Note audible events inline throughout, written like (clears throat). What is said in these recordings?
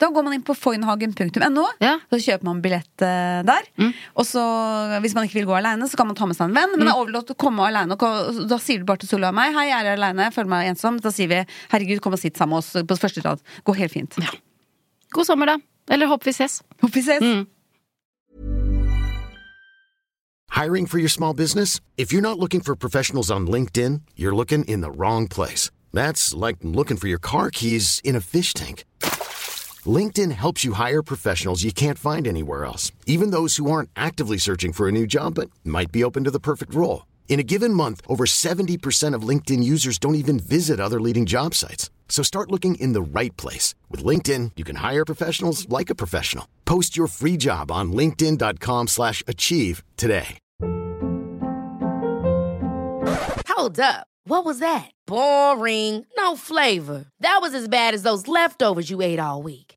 Da går man inn på foynhagen.no, Ja. Mm. så kjøper man billett eh, der. Og så, hvis man ikke vil gå aleine, så kan man ta med seg en venn. Men Mm. det er overlatt å komme aleine. Da sier du bare til Solveig og meg 'Hei, jeg er aleine, føler meg ensom'. Da sier vi 'Herregud, kom og sitt sammen med oss på første rad'. Går helt fint. God sommer, da. Eller håper vi ses. Håper vi ses. Mm. Hiring for your small business? If you're not looking for professionals on LinkedIn, you're looking in the wrong place. That's like looking for your car keys in a fish tank. LinkedIn helps you hire professionals you can't find anywhere else, even those who aren't actively searching for a new job but might be open to the perfect role. In a given month, over 70% of LinkedIn users don't even visit other leading job sites. So start looking in the right place. With LinkedIn, you can hire professionals like a professional. Post your free job on linkedin.com/achieve slash achieve today. Hold up. What was that? Boring. No flavor. That was as bad as those leftovers you ate all week.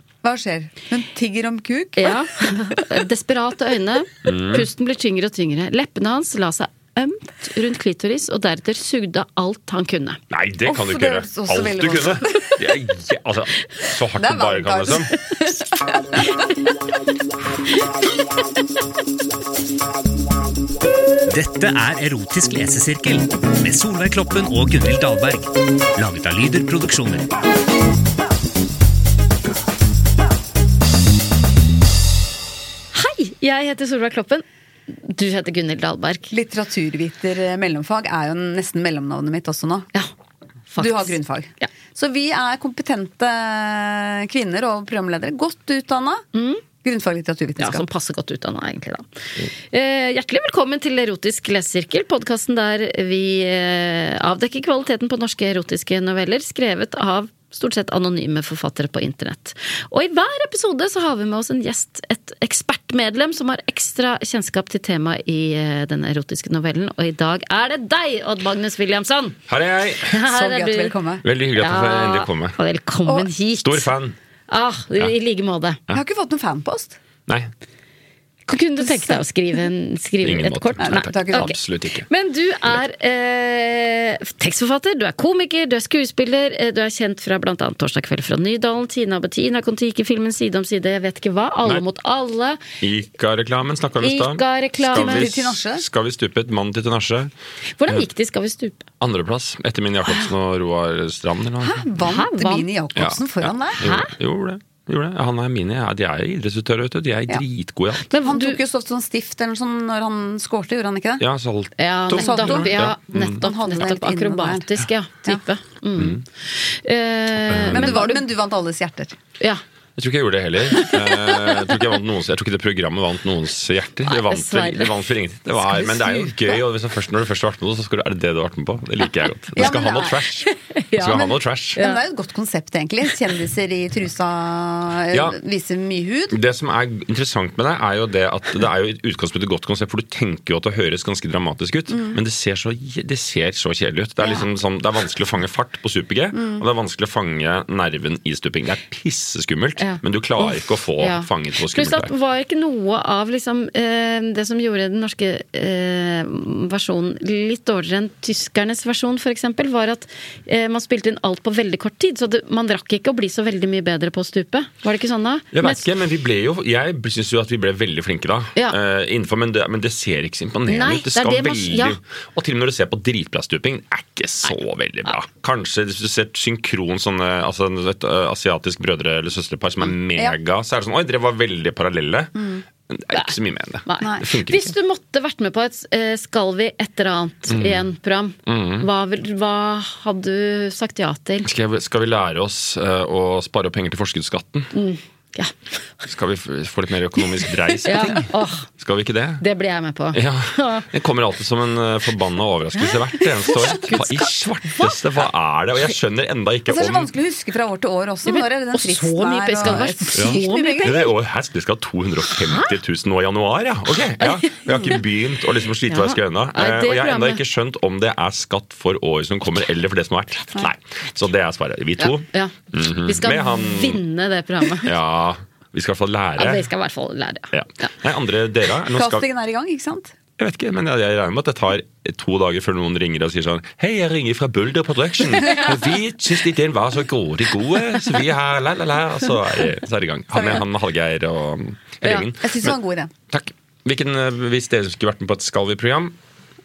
hva skjer? Hun tigger om kuk. (laughs) Ja. Desperate øyne. Pusten blir tyngre og tyngre. Leppene hans la seg ømt rundt klitoris, og deretter sugde av alt han kunne. Nei, det Uff, kan du det ikke gjøre. høres også Alt veldig du kunne. Det er je- altså, så hardt Det er du bare kan, varmt, liksom. Dette er Erotisk lesesirkel med Solveig Kloppen og Gunhild Dahlberg. Laget av Lyder Produksjoner. Hei! Jeg heter Solveig Kloppen. Du heter Gunhild Dahlberg. Litteraturviter eh, mellomfag er jo nesten mellomnavnet mitt også nå. Ja, faktisk. Du har grunnfag. Ja. Så vi er kompetente eh, kvinner og programledere. Godt utdanna. Grunnfag Mm. Ja, som litteraturvitenskap. passer godt utdanna, egentlig, da. Mm. Eh, hjertelig velkommen til Erotisk lesesirkel, podkasten der vi eh, avdekker kvaliteten på norske erotiske noveller, skrevet av stort sett anonyme forfattere på internett. Og i hver episode så har vi med oss en gjest, et ekspertmedlem, som har ekstra kjennskap til temaet i eh, den erotiske novellen, og i dag er det deg, Odd Magnus Williamson! Her er jeg. Her Så er gøy at du. du vil komme. Veldig hyggelig at du får endelig komme. Ja, velkommen hit. Stor fan. Ah, I i like måte. Jeg har ikke fått noen fanpost. Nei. Kunne du tenke deg å skrive, en, skrive Ingen et måte. kort? Nei, takk. Nei, ok. Absolutt ikke. Men du er eh, tekstforfatter, du er komiker, du er skuespiller, eh, du er kjent fra bl.a. 'Torsdag kveld fra Nydalen', 'Tina og Bettina', Kon-Tiki-filmen 'Side om side', jeg vet ikke hva. 'Alle Nei. mot alle'. Ica-reklamen snakka vi om i Ica-reklame. Skal vi- Til Tinasje? Skal vi stupe et mann til Tinasje? Hvordan gikk det i 'Skal vi stupe'? Andreplass etter min Jacobsen og Roar Strand. Eller noe. Vant Hæ, vant? Mini Jacobsen foran deg. Jo, gjorde det. Gjorde det. Han er mine. Ja, de er idrettsutøvere, vet du. De er dritgode i alt. Men Han du- tok jo sånn sånn stift eller noe sånn når han skårte, gjorde han ikke det? Ja, salt. Ja, Tom. nettopp. Ja, Mm. Han nettopp, hadde det nettopp helt inne der. akrobatisk, ja. Type. Mm. Eh, Men, men du, var, men du vant alles hjerter. ja. Jeg tror ikke jeg gjorde det heller. (laughs) Eh, Jeg tror ikke, jeg vant noens, jeg tror ikke det programmet vant noens hjerter. Nei, Det vant, dessverre. for- det vant for ingenting. Det var, men det er jo gøy. Og hvis du først, når du først har vært med noe, så skal du, er det det du har vært med på. Det liker jeg godt. Du Ja, skal men ha noe det er- trash. Du skal ha noe trash. Men det er jo et godt konsept, egentlig. Kjendiser i trusa eh, Ja. viser mye hud. Det som er interessant med det, er jo det at det er jo i utgangspunktet et godt konsept, for du tenker jo at det høres ganske dramatisk ut, Mm. men det ser, så, det ser så kjedelig ut. Det er, liksom Mm. sånn, det er vanskelig å fange fart på super-G, og det er vanskelig å fange nerven i stuping. Det er pisseskummelt. Ja. men du klarer ikke å få Ja. fanget hvor Pluss skummelt at det er. var ikke noe av liksom, eh, det som gjorde den norske eh, versjonen litt dårligere enn tyskernes versjon, f.eks., var at eh, man spilte inn alt på veldig kort tid. Så det, man rakk ikke å bli så veldig mye bedre på å stupe. Var det ikke sånn da? Jeg Men- vet ikke, men vi ble jo, jeg syns jo at vi ble veldig flinke da. Ja. eh, innenfor, men, det, men det ser ikke så imponerende Nei, ut. Det det er skal det man- veldig ja. Og til og med når du ser på dritbra stuping, er ikke så veldig bra. Kanskje hvis du ser et synkron sånne, altså et eh, asiatisk brødre- eller søsterpar som er Mm. mega, så er det sånn Oi, dere var veldig parallelle. Men Det er ikke så mye mer enn det. Nei. Det funker Hvis ikke. Mm. du måtte vært med på et eh, Skal vi et eller annet i en program, hva, vil- hva hadde du sagt ja til? Skal, jeg, skal vi lære oss eh, å spare opp penger til forskuddsskatten? Mm. Ja. Skal vi f- få litt mer økonomisk dreis på (laughs) ja. ting? Åh, Skal vi ikke det? det blir jeg med på. Ja, Det kommer alltid som en eh, forbanna overraskelse hvert eneste år. Hva i svarteste, hva er det? Og jeg skjønner enda ikke Altså, Det er så om vanskelig å huske fra år til år også. Når er det den Og så fristen mye er, penger! Skal det og- være så mye penger? Ja, det er- å, her skal- Vi skal ha 250 000 nå i januar, ja. Ok, ja. Vi har ikke begynt å liksom slite hva jeg skal unna. Nei, Eh, det Og jeg har ennå programmet- ikke skjønt om det er skatt for året som kommer, eller for det som har vært. Nei, Så det er svaret. Vi to. Ja, ja. Vi skal Mhm. Med han- vinne det programmet. Ja, vi skal i hvert fall Ja, vi lære. skal i hvert fall lære. Ja. Nei, andre dere? Nå skal Castingen er i gang, ikke sant? Jeg vet ikke, men jeg, jeg regner med at det tar to dager før noen ringer og sier sånn Hei, jeg ringer fra (laughs) Bulder Production. Vi syns ideen var så grådig god, så vi har la, la, la. Og så er det, så er det i gang. Han med han Hallgeir og hele Ja, gjengen. Jeg syns det var en god idé. Takk. Hvilken, eh, hvis dere skulle vært med på et Skal vi-program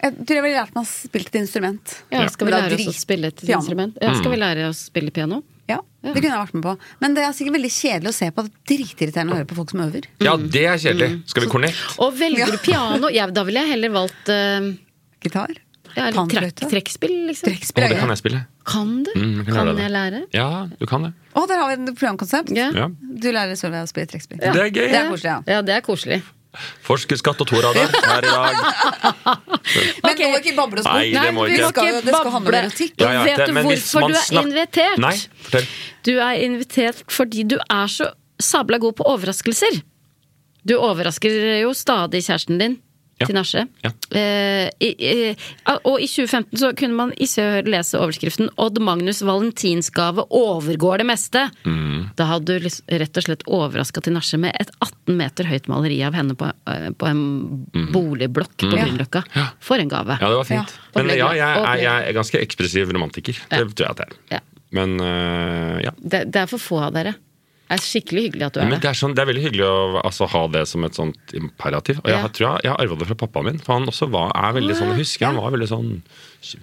Jeg tror jeg ville lært meg å spille et instrument. Ja, skal vi Men da lære oss å drit- spille et piano. instrument? Ja, skal vi Mm. lære oss å spille piano? Ja, Det kunne jeg vært med på. Men det er sikkert veldig kjedelig å se på. Det er Dritirriterende å høre på folk som øver. Ja, Mm. det er kjedelig. Skal vi connect? Og velger du piano, ja, da ville jeg heller valgt eh, Gitar. ja, eller trekk, Panfløyte. trekkspill, liksom. Å, Trekkspill. det kan jeg spille. Kan du? Mm, jeg kan kan lære det. jeg lære? Ja, du kan det. Å, der har vi et programkonsept. Ja. Ja. Du lærer Solveig å spille trekkspill. Det er Det er gøy. koselig, ja. Ja, det er koselig. Forskuddsskatt og toradar her (laughs) i dag. Men Ok. nå ikke bable oss Nei, bort. det må vi ikke. Det skal jo- det skal handle om bable. erotikk. Ja, ja, Vet det- du men hvis hvorfor man du er snak- invitert? Nei, fortell. Du er invitert fordi du er så sabla god på overraskelser. Du overrasker jo stadig kjæresten din Ja. til Nasje. Ja. Eh, i, i, og i 2015 så kunne man i Se og Hør lese overskriften 'Odd Magnus' valentinsgave overgår det meste'. Mm. Da hadde du liksom rett og slett overraska til Nasje med et 18 meter høyt maleri av henne på, eh, på en boligblokk på Grünerløkka. For en gave. Mm. Ja, det var fint. Ja. Men ja, jeg er, Opplevelse. jeg er ganske ekspressiv romantiker. Det tror jeg at jeg Ja. er. Men eh, ja. Det, det er for få av dere. Det er skikkelig hyggelig at du Ja, er men det. det, er sånn, det er veldig hyggelig å altså, ha det som et sånt imperativ. Og jeg Ja. har- tror jeg, jeg har arva det fra pappaen min. For han også var, er veldig sånn, jeg husker han var veldig sånn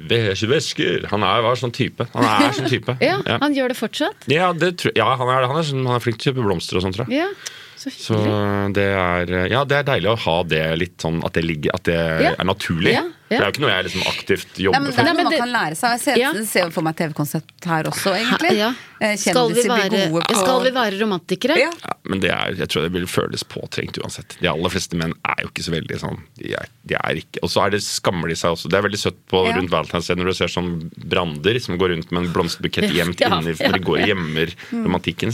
«Ve- Vesker! Han er, var sånn type. Han er sånn type. Ja, ja. han gjør det fortsatt. Ja, det tror, ja, han er, han, er, sånn- han er flink til å kjøpe blomster og sånn, tror jeg. Ja, så Så hyggelig. det er, ja, det er deilig å ha det litt sånn at det, ligger, at det Ja. er naturlig. Ja, ja. Det er jo ikke noe jeg liksom aktivt Nei, jobber men det for. er Nei, noe men man det- kan lære seg. Jeg ser, Ja. ser jo for meg et TV-konsept her også, egentlig. Ja. Eh, Skal vi, Kjendiser være, blir gode på skal vi være romantikere? Ja. Ja, men det er, jeg tror det vil føles påtrengt uansett. De aller fleste menn er jo ikke så veldig sånn. De er, de er ikke, Og så er det, skammer de seg også. Det er veldig søtt på Ja. rundt Valentine's Day når du ser sånn brander som går rundt med en blomsterbukett gjemt (laughs) Ja, inni ja. Mm. for de går og gjemmer romantikken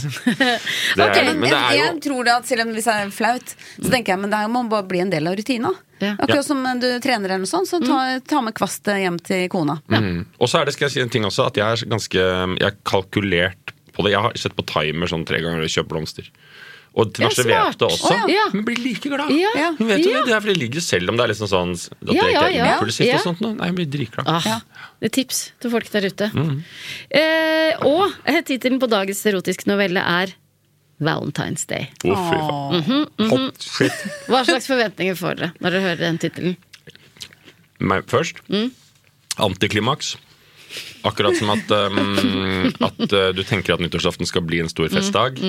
(laughs) sin. Det er, Ok, Men, men det er jo jeg tror det at selv om hvis det er flaut, så tenker jeg men det her må bare bli en del av rutina. Ja. Mm. Ja. Akkurat som du trener eller noe sånt, så ta, ta med kvast hjem til kona. Mm. Og så er det, skal jeg si en ting også, at jeg er ganske Jeg har kalkulert på det. Jeg har sett på timer sånn tre ganger og kjøpt blomster. Og Ja, Tinashe smart. vet det også. Å, ja. Hun blir like glad. Ja. Hun vet jo Ja. det. Det er fordi det ligger selv om det er liksom sånn at Ja, det ikke ja, er ja. impulsivt Ja. og sånt. noe. Nei, hun blir dritglad. Ah, Det er tips til folk der ute. Mm. Eh, og eh, tittelen på dagens erotiske novelle er Valentine's Day. Å, fy faen. Mhm, Hot shit. Hva slags forventninger får dere når dere hører den tittelen? Meg først. Mm. Antiklimaks. Akkurat som at, um, at uh, du tenker at nyttårsaften skal bli en stor Mm. festdag.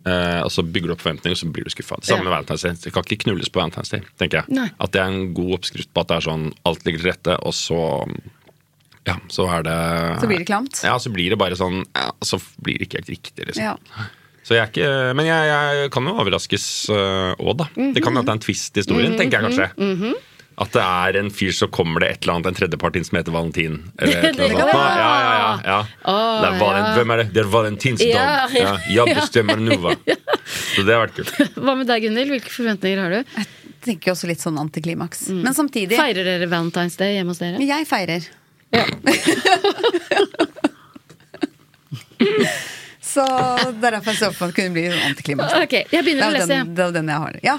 eh, og så bygger du opp forventninger, og så blir du skuffa. Det samme Ja. med Valentine's Day. Det kan ikke knulles på Valentine's Day. tenker jeg. Nei. At det er en god oppskrift på at det er sånn alt ligger til rette, og så ja, så er det Så blir det klamt. Ja, så blir det bare sånn ja, Så blir det ikke helt riktig, liksom. Ja. Så jeg er ikke, men jeg, jeg kan jo overraskes òg, da. Det kan jo at det er en twist i Mhm. historien, tenker jeg kanskje. At det er en fyr som kommer det et eller annet, en tredjepart inn som heter Valentin. Eller et eller (laughs) Det annet. kan sånt. det Ja, ja, ja, ja. Å, det er valen, ja. Hvem er det? Det er valentinsdag. Ja, Ja, ja, jeg (laughs) bestemmer Nova. Så det har vært kult. Hva med deg, Gunhild? Hvilke forventninger har du? Jeg tenker også litt sånn antiklimaks. Mm. Men samtidig Feirer dere Valentine's Day hjemme hos dere? Jeg feirer. Ja. (laughs) Så det er derfor jeg så for meg at det kunne bli sånn antiklimaks. Ok, jeg Det begynner er å jo lese. den, det er jo den jeg har. Ja.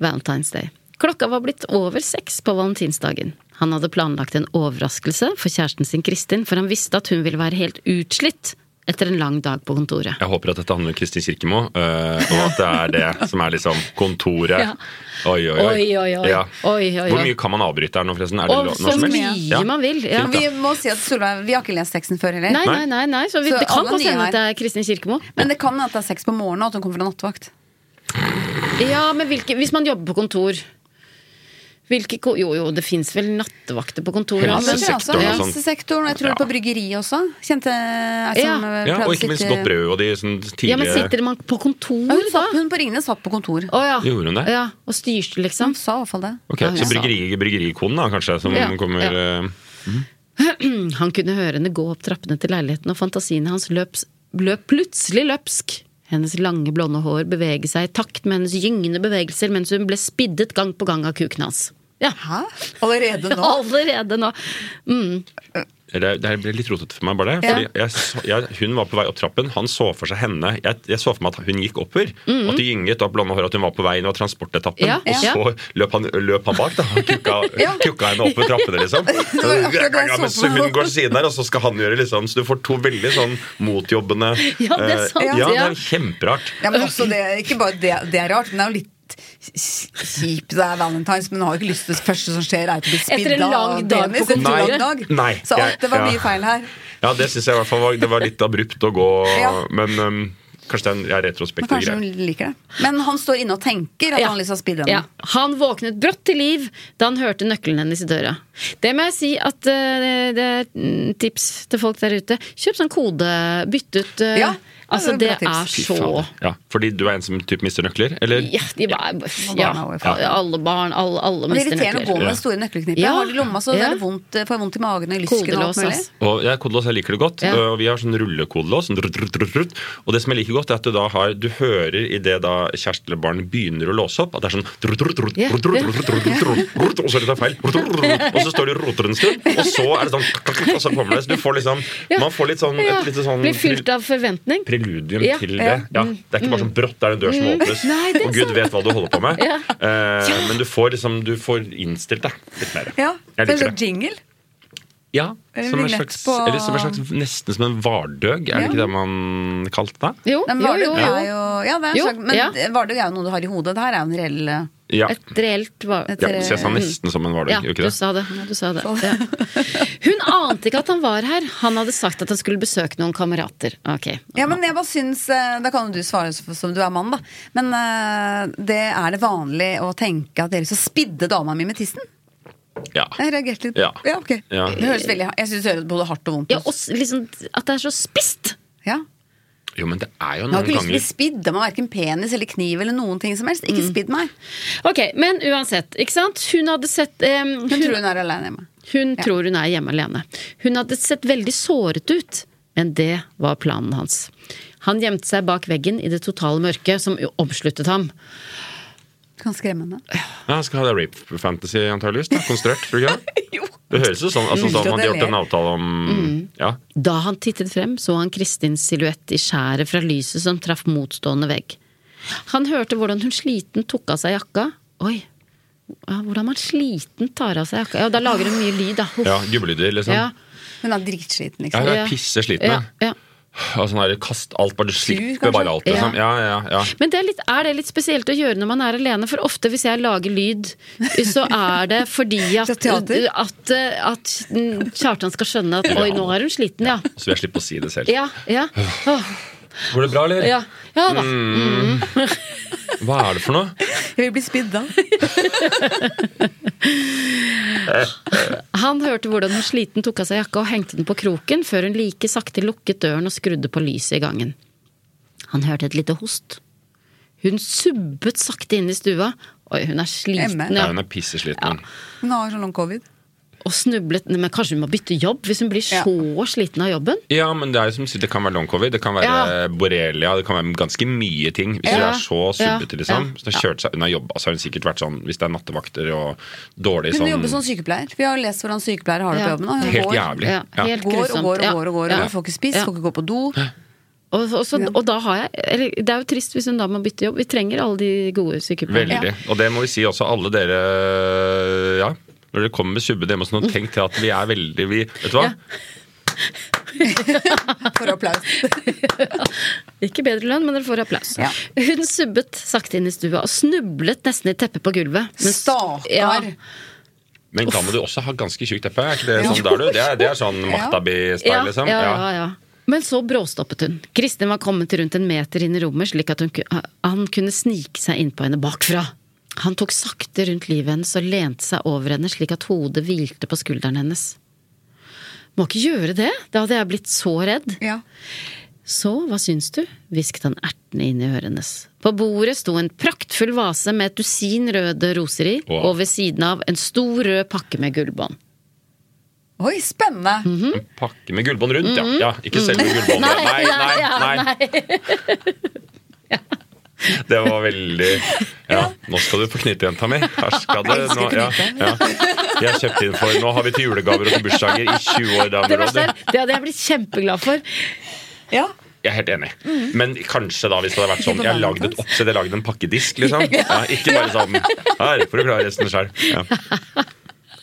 Valentine's Day. Klokka var blitt over seks på valentinsdagen. Han hadde planlagt en overraskelse for kjæresten sin Kristin, for han visste at hun ville være helt utslitt etter en lang dag på kontoret. Jeg håper at dette handler om Kristin Kirkemo, øh, og at det er det som er liksom kontoret. Ja. Oi, oi, oi. Oi, oi, oi. Ja. Oi, oi, oi. Hvor mye kan man avbryte her nå, forresten? Er det Og lov- så når som helst? mye Ja. man vil! Ja. Fint, Vi da. må si at Solveig, vi har ikke lest sexen før heller. Nei, nei, nei, nei, så vi, Så det kan alle godt nye hende her. at det er Kristin Kirkemo. Men det kan hende at det er sex på morgenen, og at hun kommer fra nattevakt. Ja, men hvilke, hvis man jobber på kontor hvilke, ko- Jo, jo, det fins vel nattevakter på kontoret. Ja, Ja, men det tror jeg Helsesektoren også. og sånn. Helsesektoren, og jeg tror Ja. på bryggeriet også. Kjente Ja. ei som eh, Ja, og prøvde ikke sitt, minst eh, godt brød og de sånn Ja, men tidlige sitter man på kontor, ja, Hun, da? satt, hun på Ringene satt på kontor. Å ja. Gjorde hun det? Ja, og styrte, liksom. Hun sa i hvert fall det. Ok, Ja, Så ja. bryggeri, bryggerikonen, da, kanskje, som Ja, kommer ja. (clears throat) øh, Han kunne høre henne gå opp trappene til leiligheten, og fantasiene hans løp, løp plutselig løpsk. Hennes lange, blonde hår beveger seg i takt med hennes gyngende bevegelser mens hun ble spiddet gang på gang av kuken hans. Ja, Hæ? Allerede (laughs) nå? allerede nå! Mm. Eller, det her ble litt rotete for meg, bare det. Fordi jeg, så- jeg, hun var på vei opp trappen, han så for seg henne. Jeg, jeg så for meg at hun gikk oppover. og At det gynget og blonde hår, at hun var på vei inn over transportetappen. Ja, og ja. så løp han, løp han bak, da. Han kukka, kukka henne oppover trappene, liksom. akkurat det jeg så Mens for meg. hun går til siden her, og så skal han gjøre liksom Så du får to veldig sånn motjobbende Ja, det er eh, sant, Ja, det ja. er kjemperart. Ja, men også det, ikke bare det, det er rart, men det er jo litt kjipt. Det er valentines, men hun har jo ikke lyst til det første som skjer, er at du blir Etter en spidda lang dag på penis etter en kontoret. lang dag. Nei. Så alt, det var Ja. mye feil her. Ja, det syns jeg i hvert fall var, det var litt abrupt å gå, Ja. men um, kanskje det er en ja, Men retrospektiv kanskje greie. hun liker det. Men han står inne og tenker at Ja. han har lyst til å spidde Ja. henne. Han våknet brått til liv da han hørte nøkkelen hennes i døra. Det må jeg si at eh, det er mm, tips til folk der ute. Kjøp sånn kode, bytt ut eh, Ja, det er Altså, et det bra tips. er Fy så fader. Ja, fordi du er en som typ mister nøkler? Eller? Ja, de bare, er ja, overfor. ja, alle barn, alle, alle Og Det er mister irriterende å gå nøkler. med store nøkkelknipper. Ja. Har det i lomma, så Ja. er det vondt, eh, får jeg vondt i magen og i lysken og alt Kodelås, mulig. ass. Og jeg, kodelås, jeg liker det godt. Ja. øh, Og vi har sånn rullekodelås. Sånn, drut, drut, drut, drut. og det som jeg liker godt, er at du da har Du hører idet da kjæresten eller barnet begynner å låse opp, at det er sånn drut, drut, drut, Ja. drut, drut, drut, drut, drut, drut, drut, Og så er det feil. Drut, drut, drut, drut. Og så står du og roter en stund, og så er det sånn klak, klak, klak, Og så kommer det. Så du får liksom Ja. Man får litt sånn Ja, et lite sånn Blir fylt av forventning. preludium Ja. Mm. til Ja. det. Ja, det er ikke bare sånn brått det er en dør som (laughs) åpnes, Nei, det er og Gud vet hva du holder på med. (laughs) Ja. Eh, men du får liksom Du får innstilt deg litt mer. Ja, Jeg det er liker sånn jingle. Ja, Eller som en vignett slags, på- eller som en slags Nesten som en vardøg, er det ikke det man kalte det? Jo, Nei, men jo, Vardø jo. er jo. jo Ja, det er en Jo, slags, men ja. Vardø er jo noe du har i hodet. Det her er jo en reell eh, Ja. Et reelt var... Et ja. Så jeg sa nesten som en vardøg, Ja, gjorde du ikke det? sa det. Du sa det. Ja. Hun ante ikke at han var her. Han hadde sagt at han skulle besøke noen kamerater. Ok. Ja, men jeg bare syns eh, Da kan jo du svare s- som du er mann, da. Men eh, det er det vanlig å tenke at dere skal spidde dama mi med tissen? Ja. Jeg reagerte litt. Ja. ok. Ja. Det høres veldig Jeg syns det høres både hardt og vondt Ja, ut. og s- liksom at det er så spisst! Ja. Jo, men det er jo Jeg har noen ikke lyst til å bli Mm, ganger spidd av verken penis eller kniv eller noen ting som helst. Ikke Mm. spidd meg. Ok, men uansett, ikke sant? Hun hadde sett eh, Hun, Hun tror hun er aleine hjemme. hun tror hun er hjemme alene. Hun hadde sett veldig såret ut, men det var planen hans. Han gjemte seg bak veggen i det totale mørket som jo omsluttet ham. Kan skremme henne. Ja, skal ha det rape fantasy, antageligvis. da. Konstruert, tror du ikke? (laughs) det? Det høres jo sånn ut altså, Mm. som om de har gjort en Ler. avtale om Mm. Ja. Da han tittet frem, så han Kristins silhuett i skjæret fra lyset som traff motstående vegg. Han hørte hvordan hun sliten tok av seg jakka. Oi, ja, Hvordan man sliten tar av seg jakka. Ja, da lager hun mye lyd, da. Huff. Ja, Gubbelyder, liksom. Ja, Ja. Hun er dritsliten, Ja, liksom. jeg Ja. er pissesliten. ja, jeg. ja. Og sånn der, kast alt, bare slipp kanskje? bare alt, liksom. Ja, ja, ja. Men det er, litt, er det litt spesielt å gjøre når man er alene? For ofte hvis jeg lager lyd, så er det fordi at, (laughs) Fra teater? at, at Kjartan skal skjønne at oi, nå er hun sliten, ja. Så vil jeg slippe å si det selv. Ja, ja. Åh, Går det bra, eller? ja. ja da. Hva er det for noe? Jeg vil bli spidda. Han hørte hvordan hun sliten tok av seg jakka og hengte den på kroken, før hun like sakte lukket døren og skrudde på lyset i gangen. Han hørte et lite host. Hun subbet sakte inn i stua. Oi, hun er sliten, Emme. Ja, ja. hun er pissesliten. Hun har sånn long covid. Og snublet. Nei, Men kanskje hun må bytte jobb hvis hun blir Ja. så sliten av jobben? Ja, men det er jo som du sier, det kan være long covid, det kan være Ja. borrelia, det kan være ganske mye ting. Hvis Ja. du er så subbete, Ja. liksom. Ja. Hvis du har kjørt seg unna jobb, altså har hun sikkert vært sånn hvis det er nattevakter og dårlig Hun sånn jobber som sykepleier. Vi har lest hvordan sykepleiere har det på Ja. jobben. Og hun Helt går, jævlig. Ja, Ja. helt går og grusomt. går og Ja. går, og går, Ja. og får ikke spist, Ja. får ikke gå på do. Og, og, så, og da har jeg eller, Det er jo trist hvis hun da må bytte jobb. Vi trenger alle de gode sykepleierne. Veldig. Og det må vi si også alle dere Ja, når dere kommer med subbete hjemme, og sånn, og tenk til at vi er veldig vi, Vet du hva? For applaus. Ikke bedre lønn, men dere får applaus. Ja. Hun subbet sakte inn i stua og snublet nesten i teppet på gulvet. Men- Stakkar. Ja, Men da må du også ha ganske tjukt teppe. Er ikke det sånn der, du? Det er, det er sånn Maktabi-style, ja, liksom. ja, ja, ja. Men så bråstoppet hun. Kristin var kommet rundt en meter inn i rommet, slik at hun, ku- han kunne snike seg innpå henne bakfra. Han tok sakte rundt livet hennes og lente seg over henne slik at hodet hvilte på skulderen hennes. Må ikke gjøre det, da hadde jeg blitt så redd. Ja. Så, hva syns du? hvisket han ertende inn i øret hennes. På bordet sto en praktfull vase med et dusin røde roser i, Wow. og ved siden av en stor rød pakke med gullbånd. Oi, spennende! En pakke med gullbånd rundt, ja. ja. Ikke selve gullbåndet. Nei, nei, nei. Det var veldig Ja, nå skal du få knyte, jenta mi. Her skal det Jeg elsker nå, ja, ja. Jeg kjøpte inn for Nå har vi til julegaver og til bursdager i 20 år. Det verste damer, er, og det hadde jeg blitt kjempeglad for. Ja. Jeg er helt enig. Men kanskje da, hvis det hadde vært sånn Jeg har lagd et oppsett, jeg har lagd en pakkedisk, liksom. Ja, ikke bare sånn Her får du klare resten sjøl. Ja.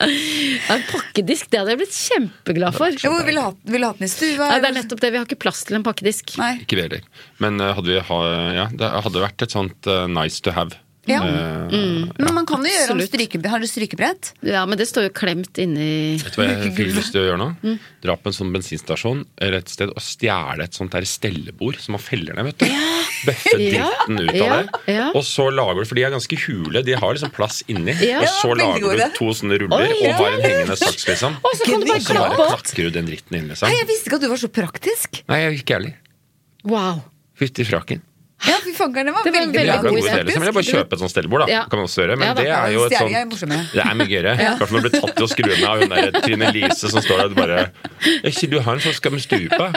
Ja, en pakkedisk, det hadde jeg blitt kjempeglad for. Ja, Hvor vil du ha, vil du ha den i stua? Nei, det er eller? nettopp det, vi har ikke plass til en pakkedisk. Nei. Ikke vi heller. Men eh, hadde vi ha, ja, det hadde vært et sånt eh, nice to have. Ja. Eh, Mm. Men man kan jo gjøre om Absolutt. stryke, Har du strykebrett? Ja, men det står jo klemt inni Vet du hva (laughs) jeg fikk lyst til å gjøre nå? Mm. Dra på en sånn bensinstasjon eller et sted og stjele et sånt der stellebord som man feller ned. vet du Bøffe Ja, dritten ut av ja, det. ja. Og så lager du, For de er ganske hule. De har liksom plass inni. Ja. og Ja, så veldig lager gode. du to sånne ruller Oi, ja. og har en hengende saks, liksom. Å, så kan du bare Og så bare klappe opp! klakker du den dritten inn, Hei, liksom. jeg visste ikke at du var så praktisk! Nei, jeg er ikke ærlig. Wow. Fytti frakken. Ja, fy fankeren, det var, Det var en veldig Det veldig bra. er god god idé. idé, liksom. Eller bare kjøpe et sånt stellebord, da. Ja. Kan man også gjøre. Men Ja, da. det er jo et Stjele er sånt morsommere. Det er mye (laughs) gøyere. Klart man blir tatt i å skru ned av hun der Trine Lise som står der og bare «Er ikke du han som skal med stupa?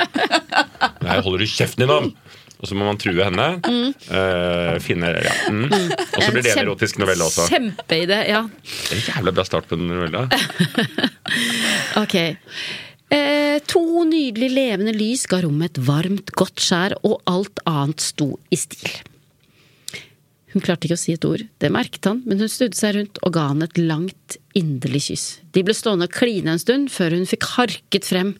Nei, holder du kjeften din om! Og så må man true henne. eh, finne ja. mm. Og så blir Mm. kjempe- det en erotisk novelle også. Det Kjempeidé, ja. er en jævla bra start på en novelle. Ok. Eh, to nydelig levende lys ga rommet et varmt, godt skjær, og alt annet sto i stil. Hun klarte ikke å si et ord, det merket han, men hun snudde seg rundt og ga han et langt, inderlig kyss. De ble stående og kline en stund før hun fikk harket frem.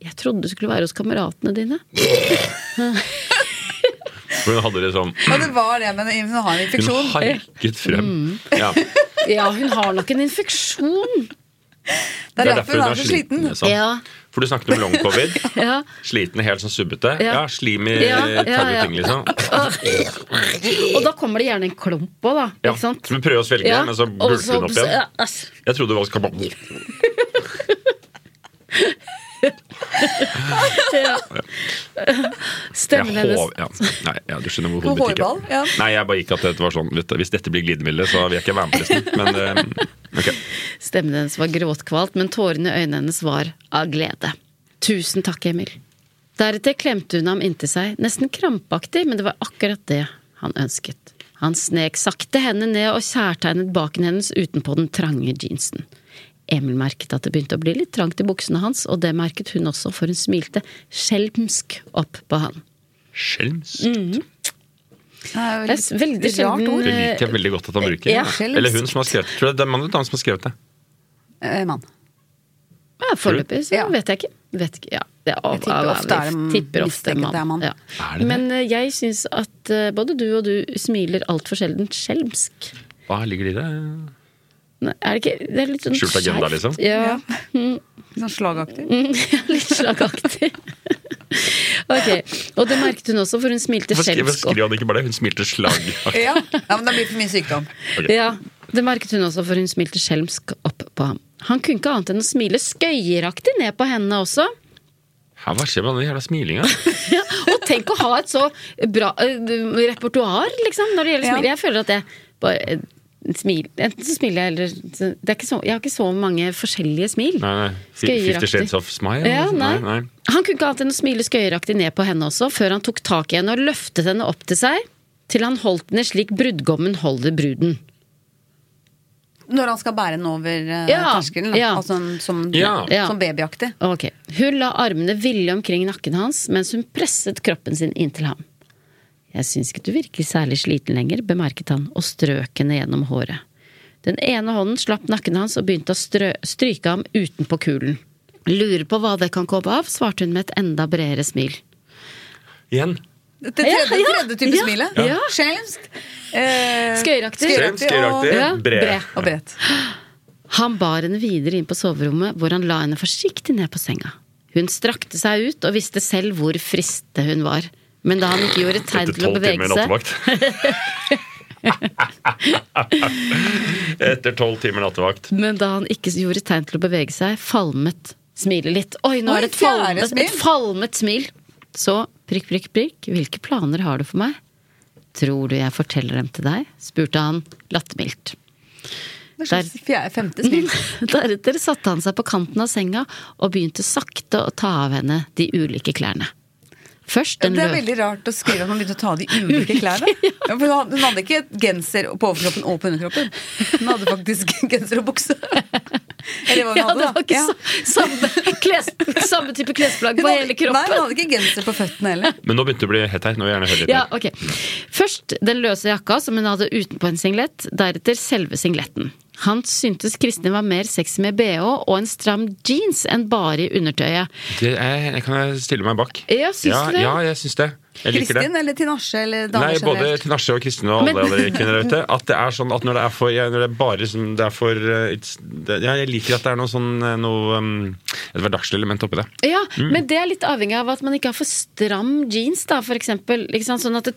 Jeg trodde du skulle være hos kameratene dine. For hun hadde liksom Ja, det var det, men hun har en Hun infeksjon. harket frem. Mm. Ja. Ja, hun har nok en infeksjon. Det er derfor hun er så sliten. liksom. Ja. For du snakket om long (laughs) covid. Ja. Sliten, helt sånn subbete. Ja. Ja, slim i Ja, ja, tauting, ja. liksom. Og da kommer det gjerne en klump òg, da. Ja. Ikke Så sant? vi prøver å svelge, Ja, men så og bulter hun opp igjen. ja, ass. Jeg trodde det var skabab. Ja. Stemmen Jeg hennes. håv- ja. Nei, ja, du skjønner hvor På hodet gikk. hårball, ja. Nei, jeg bare gikk at dette var sånn vet du, Hvis dette blir glidemiddel, så vil jeg ikke være med, resten. Men eh, ok. Stemmen hennes var gråtkvalt, men tårene i øynene hennes var av glede. Tusen takk, Emil. Deretter klemte hun ham inntil seg, nesten krampaktig, men det var akkurat det han ønsket. Han snek sakte henne ned og kjærtegnet baken hennes utenpå den trange jeansen. Emil merket at det begynte å bli litt trangt i buksene hans, og det merket hun også, for hun smilte skjelmsk opp på han. Skjelms. Det er veldig sjelden Det liker jeg veldig godt at han bruker. eh, Ja. Eller hun som har skrevet det. Tror du det er mann eller dame som har skrevet det? Eh, mann. Ja, Foreløpig så Ja. vet jeg ikke. Vet ikke. Ja, det er av, Jeg tipper av, ofte er jeg det tipper ofte mistenkt at det er mann. mann. Ja. Er det det? Men eh, jeg syns at eh, både du og du smiler altfor sjelden skjelmsk. Hva ligger det i det? Nei, Er det ikke Det er litt sånn Skjult agenda, skjevt. liksom? Ja. Litt Sånn slagaktig. (laughs) litt slagaktig. (laughs) ok. Og det merket hun også, for hun smilte Hvorfor skri- skjelmsk. hvorfor skriver han ikke bare det? Hun (laughs) smilte slag. Ja. ja, men det blir for mye sykdom. Ja, det merket hun også, for hun smilte skjelmsk opp på ham. Han kunne ikke annet enn å smile skøyeraktig ned på henne også. Ja, hva skjer med den jævla smilinga? Ja, og tenk å ha et så bra eh, repertoar, liksom, når det gjelder Ja. smil. Jeg føler at jeg bare eh, smil, Enten så smiler jeg, eller så- det er ikke så, Jeg har ikke så mange forskjellige smil. Nei, nei. Fifty Shades of Smile? Ja, eller noe nei. sånt. nei. Han kunne ikke annet enn å smile skøyeraktig ned på henne også, før han tok tak i henne og løftet henne opp til seg, til han holdt henne slik brudgommen holder bruden. Når han skal bære den over eh, Ja, terskelen. da. ja. Altså, som, Ja. Ja. som babyaktig. Ok, Hun la armene ville omkring nakken hans mens hun presset kroppen sin inntil ham. Jeg syns ikke du virker særlig sliten lenger, bemerket han og strøk henne gjennom håret. Den ene hånden slapp nakken hans og begynte å strø stryke ham utenpå kulen. Lurer på hva det kan komme av, svarte hun med et enda bredere smil. Igjen. Det tredje, Ja, ja. tredje type Ja, smilet. ja. Skjelmsk. Eh, Skøyeraktig. Skjelmsk, og, skøyeraktig, Ja, bred. bred. og bredt. Han bar henne videre inn på soverommet, hvor han la henne forsiktig ned på senga. Hun strakte seg ut og visste selv hvor fristende hun var. Men da han ikke gjorde tegn Etter til å tolv bevege timer seg nattevakt. (laughs) (laughs) Etter tolv timer nattevakt. Men da han ikke gjorde tegn til å bevege seg, falmet smilet litt. Oi, nå Oi, er det et fjerde falmet, smil. et falmet smil! Så prikk, prikk, prikk, hvilke planer har du for meg? Tror du jeg forteller dem til deg? spurte han lattermildt. (laughs) Det er slags fjerde, femte smil. Deretter satte han seg på kanten av senga og begynte sakte å ta av henne de ulike klærne. Først den Det er lø- veldig rart å skrive at man begynte å (laughs) ta de ulike klærne. Ja, for hun hadde- hun hadde ikke genser på overkroppen og på underkroppen. Hun hadde faktisk (laughs) genser og bukse. Eller hva (laughs) hun ja, hadde, det da. var ikke Ja. sa- samme, kles, samme type klesplagg Hun på hele hadde- (laughs) Nei, hun kroppen. hadde ikke genser på føttene heller. Men nå begynte det å bli hett her. Nå vil jeg gjerne høre litt. Ja, mer. ok. Først den løse jakka som hun hadde utenpå en singlet, deretter selve singletten. Han syntes Kristin var mer sexy med bh og en stram jeans enn bare i undertøyet. Det er, kan jeg stille meg bak? Ja, syns ja, du det? Ja, jeg syns det. Jeg liker det. Kristin eller Tinashe eller damer Nei, både generelt. til Nasje og Kristin og alle Men- andre kvinner der ute. At det er sånn at når det er for, ja, når det er bare som det er for eh, it's, det, ja, Jeg liker at det er noe sånn eh, noe, um, et hverdagslig element oppi det. Ja, men det er litt avhengig av at man ikke har for stram jeans, da, for eksempel. Ikke sant? Sånn at det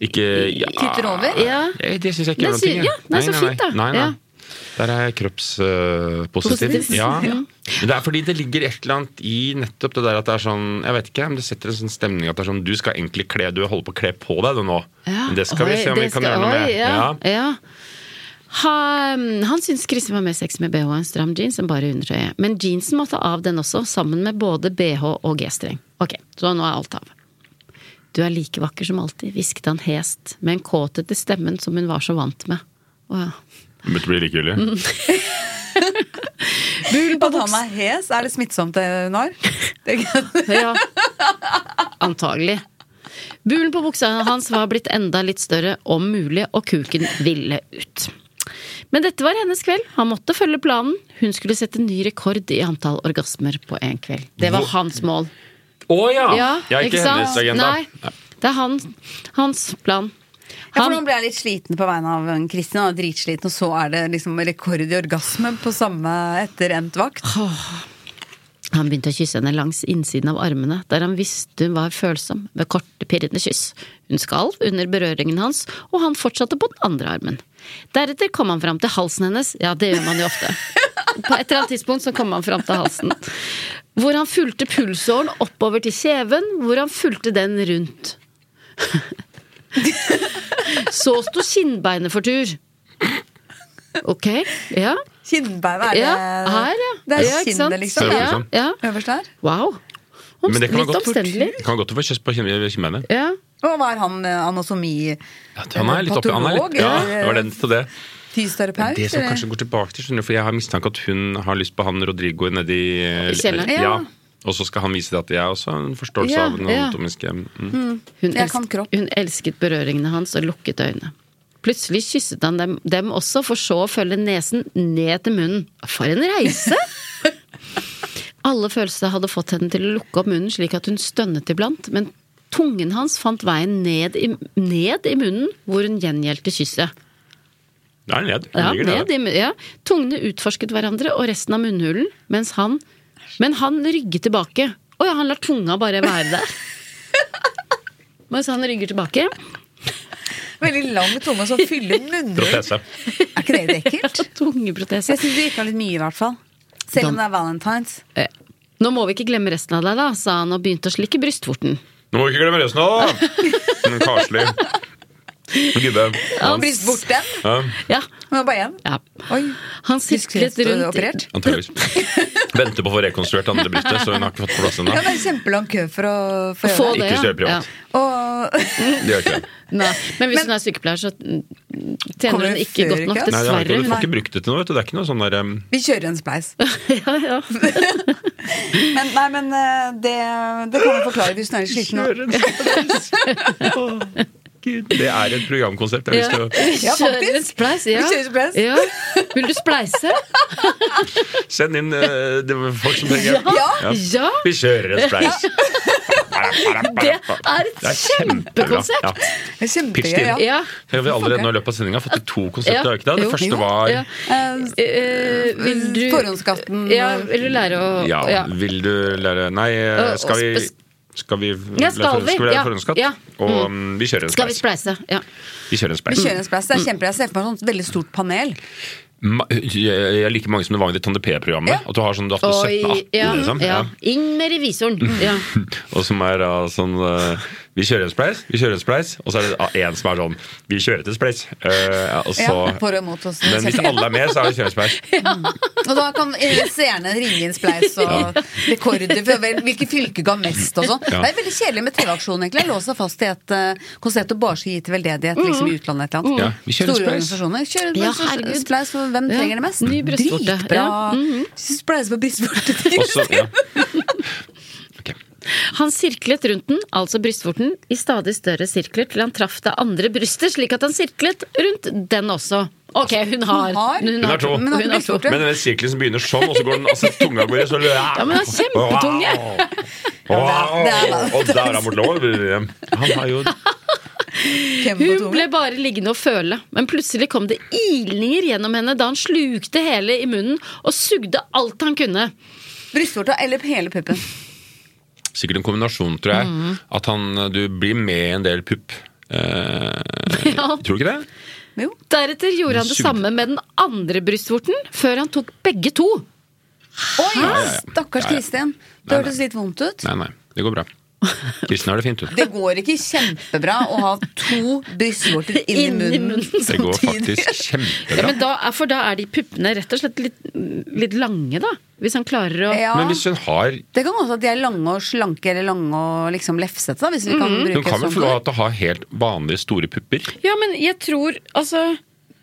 Ikke ja, Titter over? Ja. Eh, Det syns jeg ikke Nei, gjør noe. sy- jeg. ja, nei, så fint da. Nei, nei. Ja. Der er jeg kroppspositiv. Positiv. ja. Men det er fordi det ligger et eller annet i nettopp det der at det er sånn Jeg vet ikke, men det setter en sånn stemning at det er sånn Du skal egentlig kle Du holder på å kle på deg det nå. Ja, Men det skal vi oi, se om det vi kan skal- gjøre noe med. oi, Ja, ja. Ha, mm, han syntes Kristin var mer sexy med bh og en stram jeans enn bare undertøyet. Men jeansen måtte av den også, sammen med både bh og g-streng. Ok, så nå er alt av. Du er like vakker som alltid, hvisket han hest, med en kåthet i stemmen som hun var så vant med. Å ja. Begynte å bli likegyldig. Mm. At han er hes, er det smittsomt det hun (laughs) har? Det er- Ja. Antagelig. Bulen på buksa hans var blitt enda litt større, om mulig, og kuken ville ut. Men dette var hennes kveld. Han måtte følge planen. Hun skulle sette ny rekord i antall orgasmer på én kveld. Det var hans mål. Å ja! Ja, Jeg er ikke hennes agenda. Nei, det er han, hans plan. Ja, for nå Han, ble jeg litt sliten på vegne av en Kristin. Han er dritsliten, og så er det liksom rekord i orgasme på samme etter endt vakt. han begynte å kysse henne langs innsiden av armene, der han visste hun var følsom, med korte, pirrende kyss. Hun skalv under berøringen hans, og han fortsatte på den andre armen. Deretter kom han fram til halsen hennes, ja, det gjør man jo ofte. På et eller annet tidspunkt så kom han fram til halsen. Hvor han fulgte pulsåren oppover til kjeven, hvor han fulgte den rundt. Så sto kinnbeinet for tur. Ok, ja. Kinnbeinet er det Ja, her, ja. Det er ja, ikke sant? kinnet, liksom. Ja, Liksom. ja. Øverst der. Wow. Omst- Men det kan være litt godt for- omstendelig. det kan være godt å få kjøss på kinn- kinnbeinet. Ja. Og hva er han eh, anatomi... Han er litt oppi han er litt, Patolog, Ja, eller- det var den til det. Fysioterapeut? Det som eller? kanskje går tilbake til, skjønner du, for jeg har mistanke at hun har lyst på han Rodrigo nedi I kjelleren? Ja. Ja. Og så skal han vise deg at jeg også har en forståelse Ja, av den ja. anatomiske mm. Hun, Jeg kan kropp. hun elsket berøringene hans og lukket øynene. Plutselig kysset han dem, dem også, for så å følge nesen ned til munnen. For en (laughs) reise! Alle følelsene hadde fått henne til å lukke opp munnen slik at hun stønnet iblant, men tungen hans fant veien ned i, ned i munnen, hvor hun gjengjeldte kysset. Det er ned. Ja, Det ligger nede. ned i, mu- ja. Tungene utforsket hverandre og resten av munnhulen, mens han, men han rygget tilbake. Å ja, han lar tunga bare være (laughs) der. Mens han rygger tilbake. Veldig lang tunge som (laughs) fyller munnhulen. Protese. Er ikke det litt ekkelt? Tungeprotese. Jeg syns det virka litt mye, i hvert fall. Selv om det er valentines. Eh, Nå må vi ikke glemme resten av deg, da, sa han og begynte å slikke brystvorten. Nå må vi ikke glemme resten av det! da. Mm, Karslig. Gubbe. Ja. Brist bort den. Ja, Ja, Nå er det bare én. ja. Oi. Han sirklet rundt Operert. antageligvis. Venter på å få rekonstruert andre brystet, så hun har ikke fått plass ennå. Ja, det er kjempelang kø for å få Få gjøre det. det, Ikke ja. større privat. Ja. Og (laughs) Det gjør ikke det. Nei. Men hvis Men- hun er sykepleier, så mm, Kommer tjener hun det ikke før godt nok, ikke? Nei, det har ikke, dessverre. du Hun får ikke brukt det til noe. Vet du. Det er ikke noe sånn der um, vi kjører en spleis. (laughs) ja, ja. Men, nei, men eh, det, det kan jeg forklare hvis hun er litt sliten. nå. Kjøre en spleis. Å, Gud. Det er et programkonsept. Jeg har lyst til Ja, Kjører faktisk. en spleis, ja. Vi kjører spleis. Ja. Vil du spleise? å sende inn eh, det var folk som trenger hjelp. Ja, Ja! Vi kjører en spleis. Det er et kjempekonsept. Ja. det er Pitch kjempegøy. det inn. Ja. Ja. Tenk at vi allerede nå i løpet av sendinga har fått til to konsepter. har vi ikke det? Jo. det første var Ja. Eh, vil du Mm. Forhåndsskatten. Ja, vil du lære å Ja, vil du lære Nei, eh, Øh, skal og vi spes- skal vi Ja, skal vi? skal vi lære Ja, forhåndsskatt? ja. Mm. Og um, vi kjører en Skal vi spleis. spleise? Ja. Vi kjører en Vi spleis. kjører en spleis. Det er kjempegøy. Jeg ser for meg et sånt veldig stort panel. Ma- Jeg jeg liker mange som det var i det Tande P-programmet. At du har sånn du har hatt Oi, 17-18, ja, liksom. ja. Ja. Inn med revisoren. Ja. (laughs) Og som er da sånn eh, Vi kjører en spleis, vi kjører en spleis. Og så er det én som er sånn Vi kjører til spleis. Eh, ja, og Ja, så for og imot oss. Men hvis alle er med, så er det kjøre en spleis. Og da kan seerne ringe inn spleis og rekorder for hvem- hvilke fylker ga mest og sånn. Ja. Det er veldig kjedelig med TV-aksjonen, egentlig. Lås seg fast i et eh, konsept og bare skal gi til veldedighet liksom, i utlandet et eller annet. Ja, vi kjører Store spleis. organisasjoner. Kjør en Mm. Ja, spleis- herregud. spleis for hvem Ja. trenger det mest. Ny brystvorte. Dritbra. Ja. Mm-hmm. Spleis på brystvorte. Og (laughs) så- ja. Ok. Han sirklet rundt den, altså brystvorten, i stadig større sirkler til han traff det andre brystet, slik at han sirklet rundt den også. Ok, hun har Hun har- Hun har to. Men Hun har to. Men den sirkelen som begynner sånn, og så går den altså, tunga går i så Ja, men den er kjempetunge. det er- det er- Og der er han bort lov. Han har jo Hun ble bare liggende og føle, men plutselig kom det ilninger gjennom henne da han slukte hele i munnen og sugde alt han kunne. Brystvorta eller hele puppen. sikkert en kombinasjon, tror jeg. At han, du blir med i en del pupp. Eh, Ja. Tror du ikke det? Jo. Deretter gjorde han det Sugde. samme med den andre brystvorten, før han tok begge to. Oi, ja. stakkars Ja, ja. Kristin. Det Nei, nei. hørtes litt vondt ut. Nei, nei. Det går bra. Kristen har det fint, hun. Det går ikke kjempebra å ha to brystvorter (laughs) inn i Inn i munnen munnen. Det går samtidig. faktisk Ja, kjempebra. men da, er- for da er de puppene rett og slett litt, litt lange, da. Hvis han klarer å Ja, Men hvis hun har Det kan godt at de er lange og slanke eller lange og liksom lefsete. da, hvis vi kan bruke Hun kan vel et få sånt lov ord. til å ha helt vanlige store pupper? Ja, men jeg tror Altså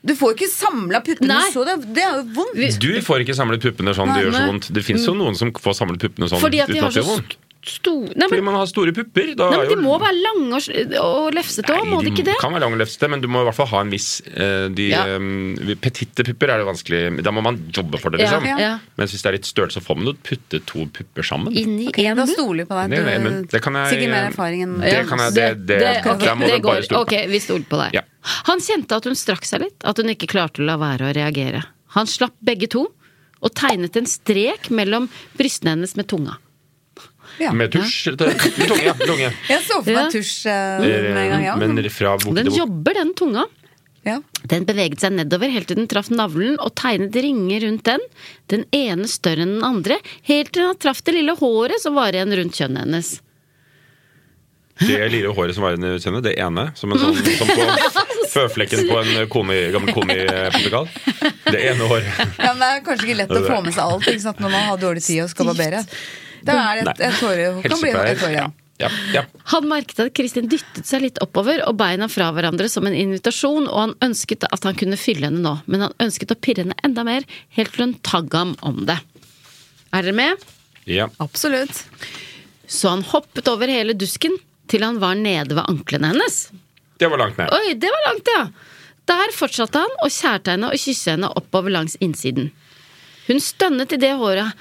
Du får jo ikke samla puppene Nei. så, det, det er jo vondt. Du får ikke samlet puppene sånn, det gjør Nei, så nei. vondt. Det fins jo noen som får samlet puppene sånn Fordi at de uten har at det så gjør vondt. store Nei, Fordi men, man har store pupper. Da nei, er men de jo- må være lange og, sl- og lefsete òg, Nei, må de ikke det? kan være lang og lefsete, men du må i hvert fall ha en viss eh, de, Ja. eh, Petitte pupper er det vanskelig Da må man jobbe for det, Ja, liksom. ja. Mens hvis det er litt størrelse, så får man jo putte to pupper sammen. Inni Ok, én da munn? stoler vi på deg. Det er jo en Du- munn. Det kan jeg- eh, Sikkert mer erfaring enn Det kan jeg- det- det- ok, der må det du bare går. stole på. Ok, vi stoler på deg. Ja. Han kjente at hun strakk seg litt, at hun ikke klarte å la være å reagere. Han slapp begge to, og tegnet en strek mellom brystene hennes med tunga. Ja. Med tusj. Med (laughs) tunge. ja, tunge. Jeg så for Ja. meg tusj eh, med en gang, Eh, ja. Men fra bukk Den til bukk. jobber, den tunga. ja. Den beveget seg nedover helt til den traff navlen og tegnet ringer rundt den, den ene større enn den andre, helt til han traff det lille håret som var igjen rundt kjønnet hennes. Det lille håret som var i kjennet, det ene. Som, en sånn, (laughs) som på føflekken på en komi, gammel komiportugal. Det ene håret. ja, men Det er kanskje ikke lett å få med seg alt ikke sant, når man har dårlig tid og skal barbere. Det er et, et hårde, kan bli et hår, ja. Ja. Ja, ja. Han merket at Kristin dyttet seg litt oppover og beina fra hverandre som en invitasjon, og han ønsket at han kunne fylle henne nå, men han ønsket å pirre henne enda mer, helt til hun tagg ham om det. Er dere med? Ja. Absolutt. Så han hoppet over hele dusken til han var nede ved anklene hennes. Det var langt ned. Oi, det var langt, ja! Der fortsatte han å kjærte henne og kysse henne oppover langs innsiden. Hun stønnet i det håret.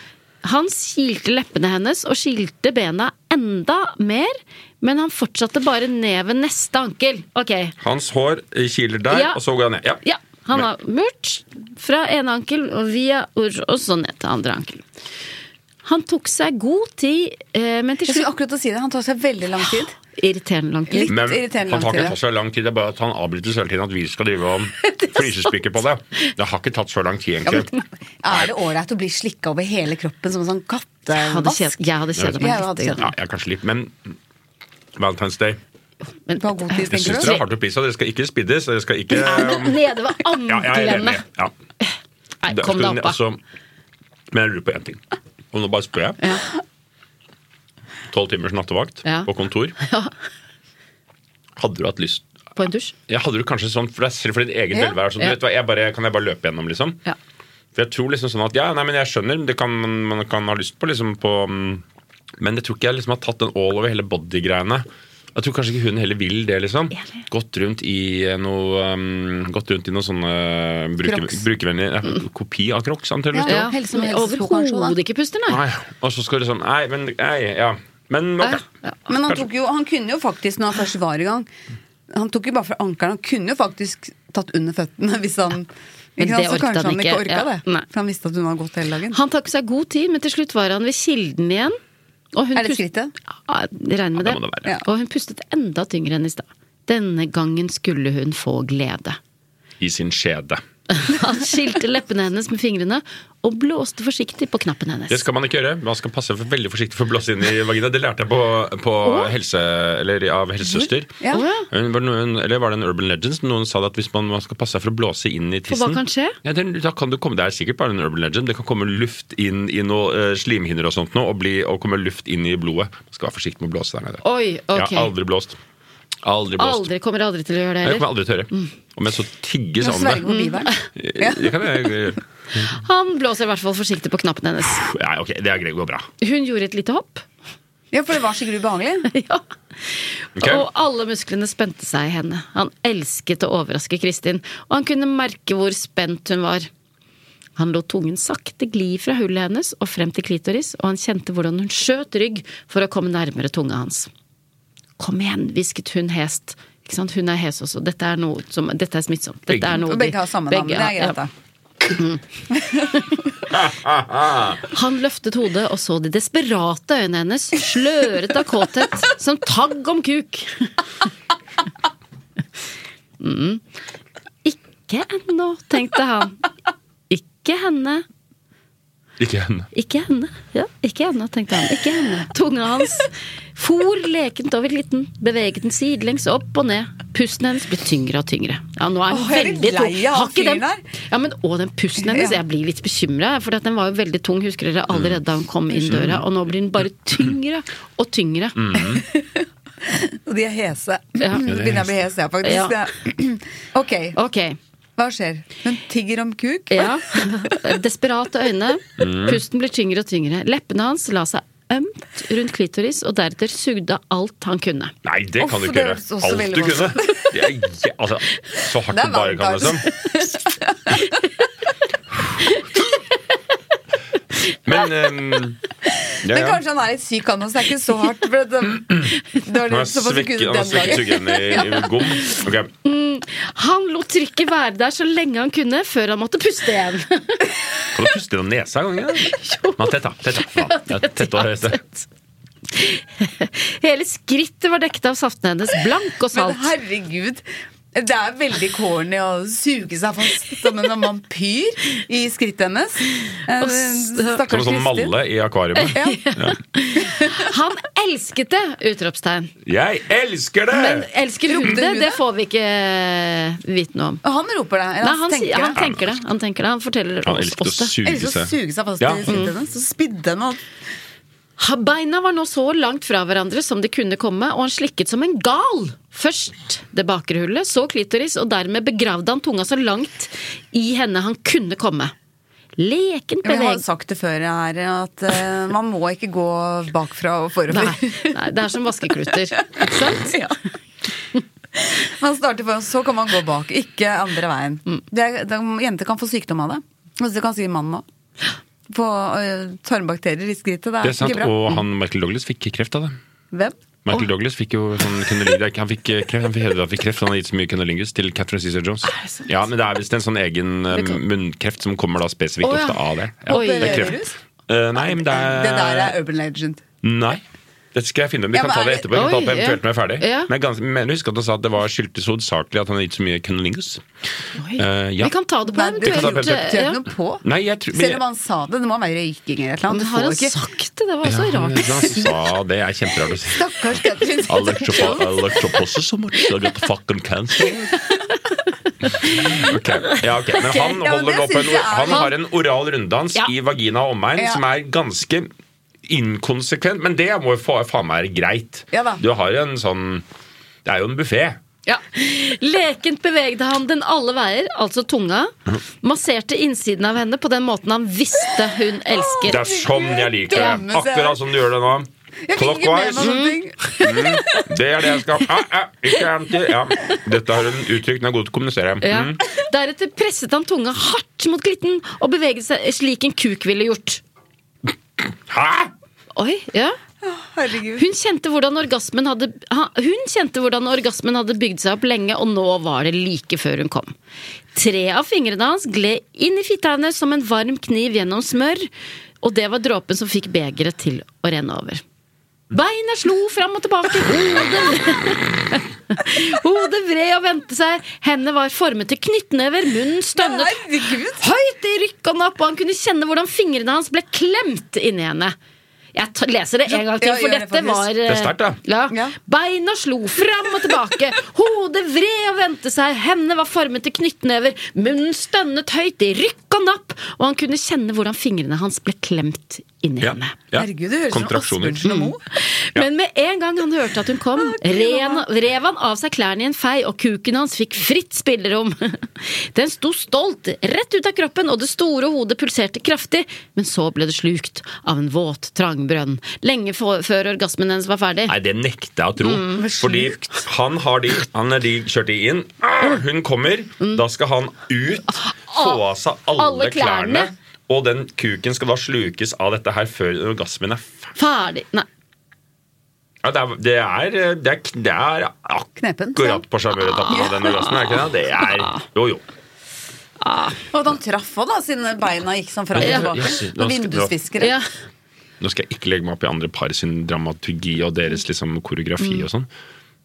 Han kilte leppene hennes og skilte bena enda mer, men han fortsatte bare ned ved neste ankel. Ok. Hans hår eh, kiler der, Ja. og så går han ned. Ja. Ja, han har murt fra ene ankel og via ur og så ned til andre ankel. Han tok seg god tid, eh, men til Jeg skulle slutt akkurat å si det. Han tar seg veldig lang tid. Irriterende lang tid. Litt Men irriterende han lang har tid, ikke ja. tatt så lang tid. Det er bare at han avbryter hele tiden at vi skal drive (laughs) om flisespikker på det. Det har ikke tatt så lang tid, Ja, egentlig. men, er det ålreit å bli slikka over hele kroppen som en sånn Jeg hadde kjed- kattevask? jeg hadde kjedet Jeg meg hadde litt. kjedet Ja, jeg er kanskje litt, men Valentine's Day. Men, Du har god tid, Jeg tenker syns du? dere har to pizza. Dere skal ikke spiddes. Dere skal ikke um, Nei, men (laughs) nede ved Ja, jeg er anklene! enig. Ja. Nei, Det- kom skulle- deg opp, da. altså, Men jeg lurer på én ting. Og nå bare spør jeg. Tolv timers nattevakt (laughs) Ja. på kontor. Hadde du hatt lyst På en dusj. Ja, hadde du kanskje sånn for deg selv for ditt eget Ja. velvære? Sånn, Ja. du vet hva, jeg bare, kan jeg bare løpe gjennom, liksom? Ja. For jeg tror liksom sånn at Ja, nei, men jeg skjønner, det kan, man kan ha lyst på liksom på mm, Men jeg tror ikke jeg liksom har tatt den all over hele body-greiene. Jeg tror kanskje ikke hun heller vil det, liksom. Enig. Gått rundt i eh, noe um, Gått rundt i noe sånne mm, bruker, Crocs. Mm. brukervennlig eh, Kopi av Crocs, antakeligvis. Ja. Ja. Ja. Helse- som helseskolekonsjon, da. Overhodet ikke puster, nei. Nei, og så skal du sånn Nei, men nei, ja. Men ok. Men han, tok jo, han kunne jo faktisk, når han først var i gang Han tok jo bare fra ankelen. Han kunne jo faktisk tatt under føttene hvis han Men ikke sant? det Så orket kanskje han han ikke ikke, orka ja. det. Nei. For han visste at hun hadde gått hele dagen. Han tok seg god tid, men til slutt var han ved kilden igjen. Og hun Er det pust- skrittet? Ja, jeg regner med Ja, det. det må det være. Ja. Og hun pustet enda tyngre enn i stad. Denne gangen skulle hun få glede. (laughs) I sin skjede. Han skilte leppene hennes med fingrene og blåste forsiktig på knappen hennes. Det skal man ikke gjøre. Man skal passe for, veldig forsiktig for å blåse inn i vagina. Det lærte jeg på, på helse, eller av helsesøster. Ja. Å, ja. Hun- var det noen, eller var det en Urban Legends? Noen sa det at hvis man, man skal passe seg for å blåse inn i tissen hva kan skje? Ja, det, da kan det, komme, det er sikkert bare en Urban Legend. Det kan komme luft inn i noe eh, slimhinner og sånt nå, og, bli, og komme luft inn i blodet. Man skal være forsiktig med å blåse der nede. Oi, ok. Jeg har aldri blåst. Aldri blåst. Aldri, Mm. kommer aldri til å gjøre det Jeg heller. kommer aldri til å gjøre. Om jeg så tigges Nå om sverger det. på biveren. (laughs) Mm. Det kan jeg gjøre. Han blåser i hvert fall forsiktig på knappen hennes. Nei, ok, det er greit. Det går bra. Hun gjorde et lite hopp. Ja, for det var skikkelig ubehagelig. (laughs) ja. Ok. Og alle musklene spente seg i henne. Han elsket å overraske Kristin, og han kunne merke hvor spent hun var. Han lot tungen sakte gli fra hullet hennes og frem til klitoris, og han kjente hvordan hun skjøt rygg for å komme nærmere tunga hans. Kom igjen, hvisket hun hest. Ikke sant? Hun er hes også. Dette er, noe som, dette er smittsomt. Dette er noe Og de- begge har samme navn. Det er ja, greit, da. Han løftet hodet og så de desperate øynene hennes, sløret av kåthet, som tagg om kuk. Mm. Ikke ennå, tenkte han. Ikke henne. Ikke henne. Ikke henne. Ja, ikke henne, tenkte han. Ikke henne. Tunga hans for lekent over klitten, beveget den sidelengs opp og ned. Pusten hennes ble tyngre og tyngre. Ja, nå er den Åh, jeg er litt veldig tung. lei av Har ikke fyren den- der. Ja, men Og den pusten hennes. Ja. Jeg blir litt bekymra, for den var jo veldig tung husker dere, allerede da hun kom inn Mm. døra. Og nå blir den bare tyngre og tyngre. Og de er hese. Ja. (laughs) Nå begynner jeg å bli hes, Ja. jeg, faktisk. Det er- (clears throat) Ok, Ok. hva skjer? Hun tigger om kuk? (laughs) Ja. (laughs) Desperate øyne. Pusten blir tyngre og tyngre. Leppene hans la seg ømt rundt klitoris, og deretter sugde av alt han kunne. Nei, det kan Uff, du ikke det gjøre. høres også Alt veldig du kunne. Det er, jæ- altså, så hardt Det er du bare kan, valgdags. liksom. Men ehm, ja, Men ja. kanskje han er litt syk, han også. Det er ikke så hardt. For det, det var liksom Han har litt såpass svekket kunne han har den svekket dagen. sugen i, i gom. Ok. Han lot trykket være der så lenge han kunne, før han måtte puste igjen. Kan du puste gjennom nesa en gang? Ja? Nei, tett, da. Tett, da. Faen. (laughs) Ja, tett og høyt. da. Hele skrittet var dekket av saften hennes, blank og Men salt. herregud. Det er veldig corny å suge seg fast som en sånn vampyr i skrittet hennes. Eh, Og s- Som en Stakkars sånn Kristin. malle i akvariet. Ja. Han elsket det! Utropstegn. Jeg elsker det! Men elsker hun Ropte det? hun Det det? får vi ikke vite noe om. Og han roper det. Eller Nei, han, tenker sier- han det. tenker det. Han tenker det, han forteller Han oss, elsket å oss det. suge Eller så seg. suge seg fast Ja. i skrittet Mm. hennes. Så spidde henne opp. Ha- Beina var nå så langt fra hverandre som de kunne komme, og han slikket som en gal. Først det bakre hullet, så klitoris, og dermed begravde han tunga så langt i henne han kunne komme. Leken Vi har beveg. sagt det før her, at eh, man må ikke gå bakfra og forover. Nei, nei, det er som vaskekluter. Ikke sant? (laughs) Ja. (laughs) Man starter foran, så kan man gå bak. Ikke andre veien. Mm. Det er, det, jenter kan få sykdom av det. Og det kan si mannen òg. Få øh, tarmbakterier i skrittet. Det er, Det er sant, ikke bra. Mm. Og han Michael Douglas fikk kreft av det. Hvem? Michael Douglas fikk jo sånn kundelingus. Han fikk eh, kreft, han fikk, han fikk kreft, han har gitt så mye kundelingus til Catherine Cesar Jones. Ja, men det er visst en sånn egen eh, munnkreft som kommer da spesifikt Å, ja. ofte av det. Ja, Oi. det er kreft. Eh, nei, men det er Det der er urban legend. Nei. Dette skal jeg finne ut. Vi Ja, kan men ta det er det- etterpå. Vi kan ta Oi, det eventuelt ja. når jeg er ferdig. Ja. Men jeg gans- mener husk at han sa at det var skyldtes hovedsakelig at han har gitt så mye kundelingus. Oi. Eh, ja. Vi kan ta det på Nei, du- Vi kan ta eventuelt. det på eventuelt. eh, Tør ja. noe på? Nei, jeg tror men Selv om han sa det. Det må være røyking eller et eller Men annet. Du har får han ikke sagt det? Det var så Ja, men rart. Han sa det. er kjemperart å si. Stakkars Catherine. I lecture for, I lecture for so so much. I got fucking cancer. Ok, ja, ok. Men han, Ja, men holder det nå på en, synes jeg er- han har en oral runddans Ja. i vagina og omegn Ja. som er ganske inkonsekvent, men det må jo fa- faen meg være greit. Ja da. Du har en sånn Det er jo en buffé. Ja. Lekent bevegde han den alle veier, altså tunga. Mhm. Masserte innsiden av henne på den måten han visste hun Det elsker. er sånn jeg liker Drømme det. seg. Akkurat som du gjør det nå. Jeg fikk ikke med meg Clockwise. noen ting. Mm, det er det jeg skal ah, ah, Ikke anti. Ja. Dette har hun uttrykt. Hun er god til å kommunisere. Ja. Mm. Deretter presset han tunga hardt mot glitten og beveget seg slik en kuk ville gjort. Hæ? Oi, ja. Herregud. Hun kjente hvordan orgasmen hadde ha- Hun kjente hvordan orgasmen hadde bygd seg opp lenge, og nå var det like før hun kom. Tre av fingrene hans gled inn i fitta hennes som en varm kniv gjennom smør, og det var dråpen som fikk begeret til å renne over. Beina slo fram og tilbake, hodet (laughs) Hodet vred og vendte seg, hendene var formet til knyttnever, munnen stønnet Herregud. høyt i rykk og napp, og han kunne kjenne hvordan fingrene hans ble klemt inni henne. Jeg t leser det en gang til, Ja, for gjør det, dette faktisk. var eh, Det er sterkt, da. Ja. Ja. Beina slo fram og (laughs) tilbake, hodet vred og vendte seg, hendene var formet til knyttnever, munnen stønnet høyt i rykk og napp, og han kunne kjenne hvordan fingrene hans ble klemt inni Ja. henne. ja. Herregud, det høres ut som Kontraksjoner. Asbjørnsen og Moe. Men med en gang han hørte at hun kom, ren, rev han av seg klærne i en fei, og kuken hans fikk fritt spillerom. (laughs) Den sto stolt rett ut av kroppen, og det store hodet pulserte kraftig, men så ble det slukt av en våt trangbrønn, lenge få- før orgasmen hennes var ferdig. Nei, det nekter jeg å tro. Fordi han har de, han er de kjørt de inn. Ah, Hun kommer, da skal han ut, få av seg alle, Alle klærne. klærne. Og den kuken skal da slukes av dette her før orgasmen er f- Ferdig Nei. ja, det, er, det, er, det, er, det er Knepen, akkurat på sjarmøretappen av den orgasmen. Er det ikke det? det er, jo, jo. Og at han traff òg, da, siden beina gikk sånn fram og Ja. tilbake. Yes, nå skal- Vindusviskere. Ja. Nå skal jeg ikke legge meg opp i andre par sin dramaturgi og deres liksom, koreografi og sånn.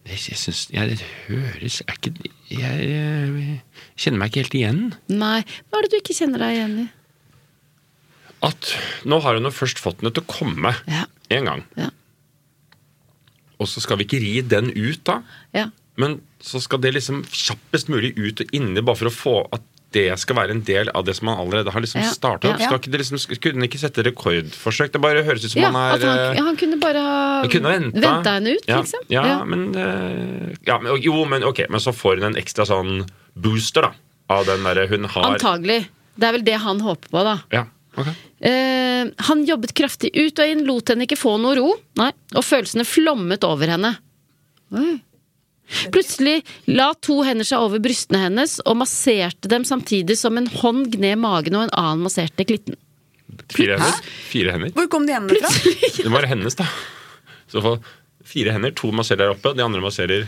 Jeg, jeg syns jeg, Det høres er ikke, jeg, jeg kjenner meg ikke helt igjen. Nei. Hva er det du ikke kjenner deg igjen i? at nå har hun jo først fått henne til å komme Ja. en gang. Ja. Og så skal vi ikke ri den ut, da. Ja. Men så skal det liksom kjappest mulig ut og inni, bare for å få at det skal være en del av det som man allerede har liksom Ja. startet opp. Ja. Skal ikke det liksom, skulle hun ikke sette rekordforsøk? Det bare høres ut som ja man at er han, eh, han kunne bare ha han kunne venta. venta henne ut, ja. liksom. Ja, Ja. men eh, ja, men, Jo, men ok, men så får hun en ekstra sånn booster, da. Av den derre hun har Antagelig. Det er vel det han håper på, da. Ja, ok. Eh, han jobbet kraftig ut og inn, lot henne ikke få noe ro, nei, og følelsene flommet over henne. Plutselig la to hender seg over brystene hennes og masserte dem samtidig som en hånd gned magen og en annen masserte klitten. Fire hender. Fire hender. Hvor kom de hendene fra? Det var hennes, da. Så få fire hender, to masserer der oppe, og de andre masserer